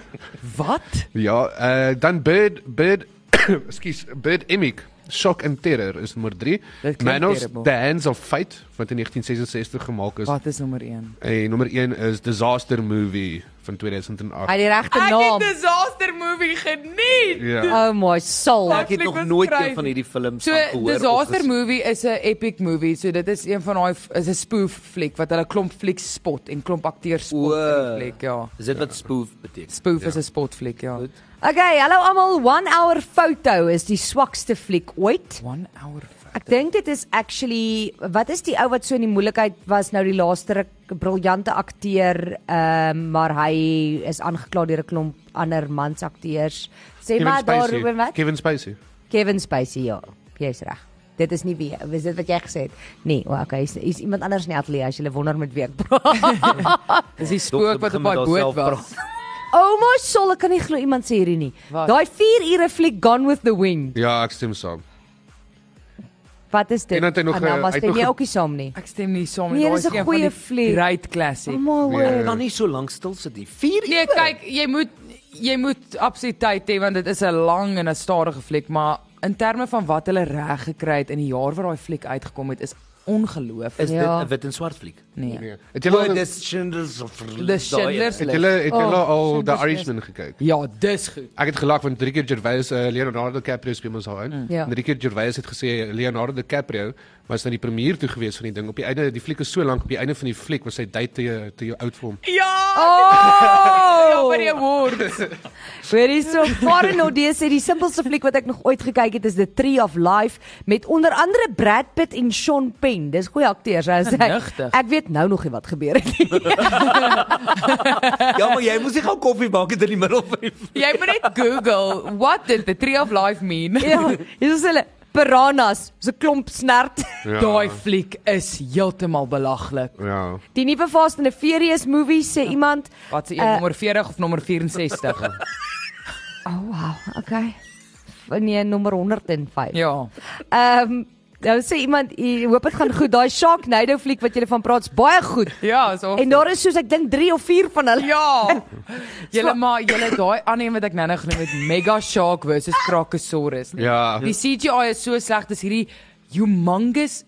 Speaker 3: Wat?
Speaker 5: Ja, uh, dan Bird Bird ekskuus, Bird Emic. Shock and Terror is nommer 3.
Speaker 3: klink
Speaker 5: Manos
Speaker 3: terrible.
Speaker 5: The Hands of Fate wat in 1966 gemaak is.
Speaker 3: Wat is nommer 1?
Speaker 5: En nommer 1 is Disaster Movie van 2008.
Speaker 2: Hy het die regte
Speaker 3: Ek het
Speaker 2: naam.
Speaker 3: disaster movie geniet.
Speaker 5: Ja.
Speaker 2: Oh my soul.
Speaker 3: Ek
Speaker 4: Ek het nog
Speaker 3: Fliek
Speaker 4: nooit
Speaker 3: beskryf.
Speaker 4: een van hierdie films
Speaker 3: So
Speaker 4: van gehoor. of
Speaker 3: disaster
Speaker 4: ges-
Speaker 3: movie is 'n epic movie. So dit is een van daai is 'n spoof fliek wat hulle klomp flieks spot en klomp akteurs spot in
Speaker 4: O.
Speaker 3: die fliek, ja.
Speaker 4: Is dit wat spoof beteken?
Speaker 3: Spoof is 'n spot fliek, ja.
Speaker 4: Goed.
Speaker 2: Okay, hallo almal. 1 hour foto is die swakste fliek ooit.
Speaker 3: 1 hour.
Speaker 2: Ek dink dit is actually wat is die ou wat so in die moeilikheid was nou die laaste ruk briljante akteur, ehm maar hy is aangekla deur 'n klomp ander mans akteurs. Sê
Speaker 5: Kevin
Speaker 2: maar daar
Speaker 5: Spacey.
Speaker 2: Ruben wat?
Speaker 5: Kevin Spacey.
Speaker 2: Kevin Spacey ja. Jy's reg. Dit is nie wie is dit wat jy gesê het? Nee, o, okay, is, is iemand anders in die ateljee as jy wonder met wie ek praat.
Speaker 3: Dis die
Speaker 4: Dokter
Speaker 3: spook wat op
Speaker 4: begin met
Speaker 3: daai boot
Speaker 4: haarself
Speaker 3: was.
Speaker 2: oh my soul, ek kan nie glo iemand sê hierdie nie.
Speaker 3: Wat?
Speaker 2: Daai 4 ure fliek Gone with the Wind.
Speaker 5: Ja, ek stem saam.
Speaker 2: Wat is dit?
Speaker 5: En het hy nog, eh,
Speaker 2: Anna,
Speaker 5: hy
Speaker 2: maar
Speaker 5: het
Speaker 2: stem
Speaker 5: nog
Speaker 2: jy
Speaker 5: ge-
Speaker 2: ook nie saam nie?
Speaker 3: Ek stem nie saam
Speaker 2: Nee,
Speaker 3: Daai
Speaker 2: dis 'n
Speaker 3: een van
Speaker 2: goeie
Speaker 3: die
Speaker 2: fliek.
Speaker 3: Great classic.
Speaker 5: Nee.
Speaker 2: Oh my word.
Speaker 4: Dan nou nie so lank stil sit nie.
Speaker 3: Nee, kyk, jy moet jy moet absoluut tyd hê want dit is 'n lang en 'n stadige fliek, maar in terme van wat hulle reg gekry het in die jaar wat daai fliek uitgekom het, is ongelooflik.
Speaker 4: Is dit
Speaker 2: Ja.
Speaker 4: 'n wit en swart fliek?
Speaker 3: Nee.
Speaker 5: Nee. Het julle al- het
Speaker 4: dis Schindler's of
Speaker 3: The
Speaker 4: ja.
Speaker 3: Schindler's List.
Speaker 5: julle het julle
Speaker 3: Oh,
Speaker 5: al The
Speaker 3: Schindler's List.
Speaker 5: Irishman gekyk?
Speaker 3: Ja, dis goed.
Speaker 5: Ek het gelag want drie keer Gervais uh, Leonardo DiCaprio speel ons daarin. Mm.
Speaker 2: Ja.
Speaker 5: En drie keer Gervais het gesê Leonardo DiCaprio was na die premier toe gewees van die ding. Op die einde die fliek is so lank op die einde van die fliek was hy date te te oud vir hom.
Speaker 3: Ja! Oh! Ja, by die awards.
Speaker 2: Weer is so Foreign Odyssey sê die simpelste fliek wat ek nog ooit gekyk het is The Tree of Life met onder andere Brad Pitt en Sean Penn. Dis goeie akteurs. Hy sê
Speaker 3: Nigtig.
Speaker 2: ek weet nou nog nie wat gebeur het nie.
Speaker 4: Ja, maar jy moes nie gou koffie maak het in die middel van die
Speaker 3: Jy moet net Google what did the tree of life mean.
Speaker 2: ja, hier is hulle piranhas, so 'n klomp snert.
Speaker 5: Ja.
Speaker 3: Daai fliek is heeltemal belaglik.
Speaker 5: Ja.
Speaker 2: Die nuwe Fast and the Furious movie
Speaker 3: Ja.
Speaker 2: sê iemand,
Speaker 3: Wat se
Speaker 2: Eh.
Speaker 3: een nommer 40 of nommer 64?
Speaker 2: "Oh wow, okay." Nee, nommer 105.
Speaker 3: ja.
Speaker 2: Ehm um, nou sê iemand, "Ek hoop dit gaan goed. Daai Sharknado fliek wat jy van praat's baie goed."
Speaker 3: Ja, so.
Speaker 2: En daar is soos ek dink 3 of 4 van hulle.
Speaker 3: Ja. Julle maar julle daai ander een wat ek nou-nou genoem het Mega Shark versus Krakasaurus. nie?
Speaker 5: Ja.
Speaker 3: Die CGI is so sleg, dis hierdie humongous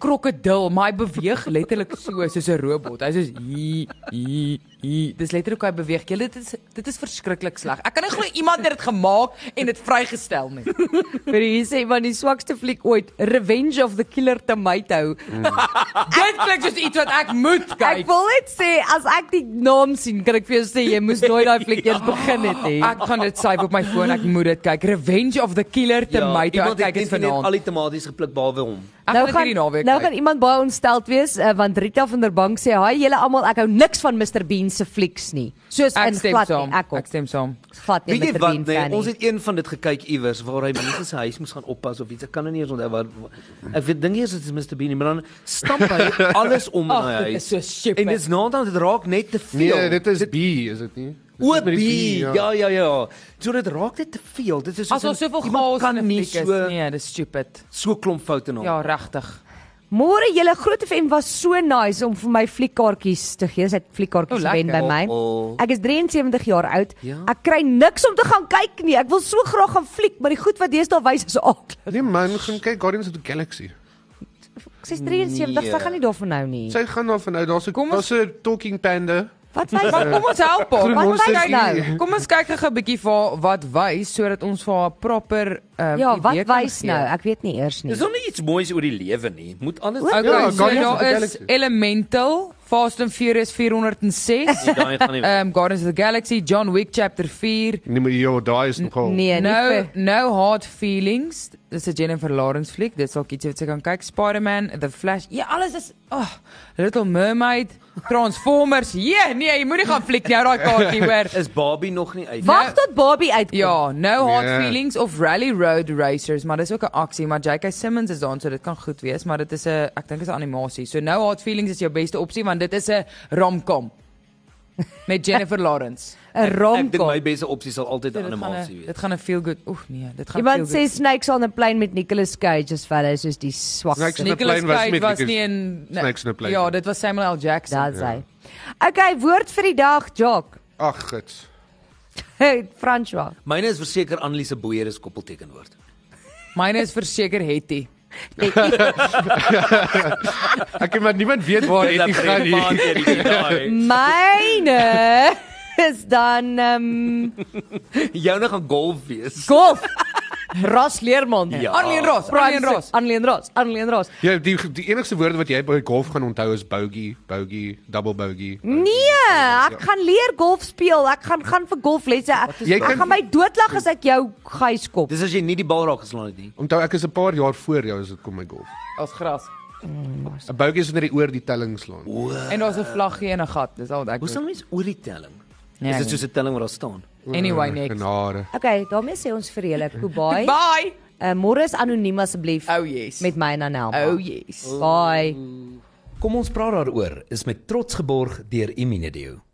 Speaker 3: krokodil, maar hy beweeg letterlik so soos 'n robot. Hy's soos hi hi Ie, dis letterlik hoe hy beweeg. Julle dit is dit is verskriklik sleg. Ek kan nie glo iemand het dit gemaak en dit vrygestel nie.
Speaker 2: Vir hier sê man die swakste fliek ooit, Revenge of the Killer Tomato.
Speaker 3: Dit klink soos iets wat ek moet
Speaker 2: Ah, Ek
Speaker 3: Mm. kyk.
Speaker 2: wil net sê as ek die naam sien, kan ek vir jou sê jy moes nooit daai fliek
Speaker 3: Ja.
Speaker 2: eers begin het nie.
Speaker 3: Nee. Ek gaan dit save op my foon. Ek moet dit kyk. Revenge of the Killer Tomato. Ja, ek
Speaker 4: iemand het
Speaker 3: kyk dit
Speaker 4: net net
Speaker 3: vanaand.
Speaker 4: al die tomaties gepluk behalwe hom.
Speaker 3: Ek gaan dit hierdie naweek
Speaker 2: nou
Speaker 3: kyk.
Speaker 2: gaan iemand baie ontsteld wees uh, want Rita van der Bank sê, "Haai julle almal, ek hou niks van Mr Bean se flieks nie." Soos
Speaker 3: Ek
Speaker 2: in
Speaker 3: stem
Speaker 2: glad
Speaker 3: saam.
Speaker 2: nie, ek
Speaker 3: Ek
Speaker 2: ook.
Speaker 3: stem saam.
Speaker 2: Glad nie
Speaker 4: Weet jy
Speaker 2: Mr
Speaker 4: wat
Speaker 2: Bean
Speaker 4: nee,
Speaker 2: fan
Speaker 4: ons
Speaker 2: nie.
Speaker 4: het een van dit gekyk iewers waar hy mense se huis moes gaan oppas of iets. Ek kan nou nie eens onthou wat ek weet dink eers dit is Mr Bean, nie, maar dan stamp hy alles om
Speaker 5: Nou
Speaker 4: in
Speaker 3: Ag,
Speaker 4: hy
Speaker 5: ja,
Speaker 3: dit is
Speaker 4: huis.
Speaker 3: so stupid.
Speaker 4: En dit's nou dan dit raak net te veel.
Speaker 5: Nee, dit is B, is dit nie? Dis
Speaker 4: O,
Speaker 5: iets met
Speaker 4: B.
Speaker 5: die
Speaker 4: Ja, ja, ja. So dit raak net te veel. Dit is soos
Speaker 3: As ons
Speaker 4: in-
Speaker 3: soveel
Speaker 4: iemand
Speaker 3: chaos in 'n
Speaker 4: nie
Speaker 3: fliek is.
Speaker 4: so-
Speaker 3: Nee, dis stupid.
Speaker 4: So klomp foute nou.
Speaker 3: Ja, regtig.
Speaker 2: Môre julle Groot FM was so nice om vir my fliekkaartjies te gee. Sy het
Speaker 3: O,
Speaker 2: fliekkaartjies
Speaker 3: Oh, lekker.
Speaker 2: gewen by my.
Speaker 4: O, o.
Speaker 2: Ek is 73 jaar oud.
Speaker 4: Ja.
Speaker 2: Ek kry niks om te gaan kyk nie. Ek wil so graag gaan fliek, maar die goed wat deesdae wys is aaklig.
Speaker 5: Nee man, gaan kyk Guardians of the Galaxy.
Speaker 2: Ek sê 73,
Speaker 4: Nee.
Speaker 2: sy gaan nie daarvan nou nie.
Speaker 5: Sy gaan daarvan uit. Daar's 'n
Speaker 3: Kom ons-
Speaker 5: daar's 'n talking panda.
Speaker 2: Wat wys
Speaker 3: Maar kom ons help
Speaker 5: Ja.
Speaker 3: haar.
Speaker 5: Groen
Speaker 2: Wat
Speaker 5: monsters
Speaker 2: wys nou?
Speaker 5: hier.
Speaker 3: Kom ons kyk gou 'n bietjie vir haar wat wys sodat ons vir haar 'n proper um,
Speaker 2: Ja, wat wys nou? Ek weet nie eers nie.
Speaker 4: Dis nog nie iets moois oor die lewe nie. Moet anders
Speaker 2: O,
Speaker 3: Okay,
Speaker 5: Ja,
Speaker 3: ja, so
Speaker 5: Guardians
Speaker 3: daar
Speaker 5: of the
Speaker 3: is
Speaker 5: Galaxy.
Speaker 3: Elemental, Fast and Furious 406,
Speaker 4: Nee, daai gaan nie werk.
Speaker 3: um Guardians of the Galaxy, John Wick Chapter 4,
Speaker 5: Nee, maar ja, daai is nogal.
Speaker 2: Nee, nie
Speaker 3: No
Speaker 2: vir
Speaker 3: No Nou, Hard Feelings. Dis 'n Jennifer Lawrence fliek. Dit sal iets wat jy kan kyk. Spider-Man, The Flash. Ja, alles is oh, Little Mermaid, Transformers. Ja, yeah, nee, jy moenie gaan fliek nou daai kaartjie hoor.
Speaker 4: is Barbie nog nie uit. Nee,
Speaker 2: Wag tot Barbie uitkom.
Speaker 3: Ja, No Hard
Speaker 5: Nee.
Speaker 3: Feelings of Rally Road Racers, maar dis ook 'n aksie, maar J.K. Simmons is daarin, so dit kan goed wees, maar dit is 'n ek dink dit is 'n animasie. So No Hard Feelings is jou beste opsie want dit is 'n romcom met Jennifer Lawrence.
Speaker 2: 'n
Speaker 4: Ek dink my
Speaker 2: romkom.
Speaker 4: beste opsie sal altyd 'n
Speaker 3: Nee, Dit gaan 'n-
Speaker 4: animasie wees.
Speaker 3: dit gaan 'n feel good. Oeg nee, dit gaan 'n feel
Speaker 2: Iemand
Speaker 3: good.
Speaker 2: sê Snakes on a Plane met Nicolas Cage as wel soos die
Speaker 5: Snakes
Speaker 2: swakste.
Speaker 5: on a-
Speaker 3: Nicolas
Speaker 5: plane was
Speaker 3: Cage
Speaker 5: met
Speaker 3: was
Speaker 5: Nicolas-
Speaker 3: nie in nee.
Speaker 5: Snakes on a Plane.
Speaker 3: Ja, dit was Samuel L. Jackson.
Speaker 2: Daar's hy. Okay, woord vir die dag, Jock.
Speaker 5: Ag, gits.
Speaker 2: François.
Speaker 4: Myne is verseker Annelies se boeier is koppeltekenwoord.
Speaker 3: Myne is verseker Hetty.
Speaker 5: Ek kan maar niemand weet waar dit gaan nie.
Speaker 4: nie.
Speaker 2: Myne is dan ehm um,
Speaker 4: Joune nou gaan golf wees.
Speaker 2: golf. Ras Leermond.
Speaker 4: Ja.
Speaker 3: Arlene Ross, Arlene Ross.
Speaker 2: Anlien Ross, Anlien Ross.
Speaker 5: Ja, die die enigste woorde wat jy by golf gaan onthou is bogey, bogey, double bogey.
Speaker 2: Nee, ek gaan leer golf speel. Ek gaan gaan vir golflesse. Ek,
Speaker 5: Jy
Speaker 2: ek
Speaker 5: kan-
Speaker 2: gaan my doodlag as ek jou gys kop.
Speaker 4: Dis as jy nie die bal raak geslaan het nie.
Speaker 5: Onthou ek is 'n paar jaar voor jou as dit kom by golf.
Speaker 3: As gras.
Speaker 5: 'n Bogey is wanneer jy oor die telling slaan.
Speaker 3: En daar's 'n vlaggie en 'n gat. Dis al wat ek.
Speaker 4: Hoe
Speaker 3: weet.
Speaker 4: sal mens oor die telling?
Speaker 3: Nee,
Speaker 4: Is
Speaker 3: ek
Speaker 4: dit soos 'n telling wat daar staan?
Speaker 3: Anyway, next.
Speaker 5: Genade.
Speaker 2: Okay, daarmee sê ons vir julle Kubai.
Speaker 3: Bye.
Speaker 2: Uh, Môre is anoniem asseblief
Speaker 3: Oh yes.
Speaker 2: met my en Anelma.
Speaker 3: Oh yes.
Speaker 2: Bye.
Speaker 4: Kom ons praat daaroor is met trots geborg deur Immediate.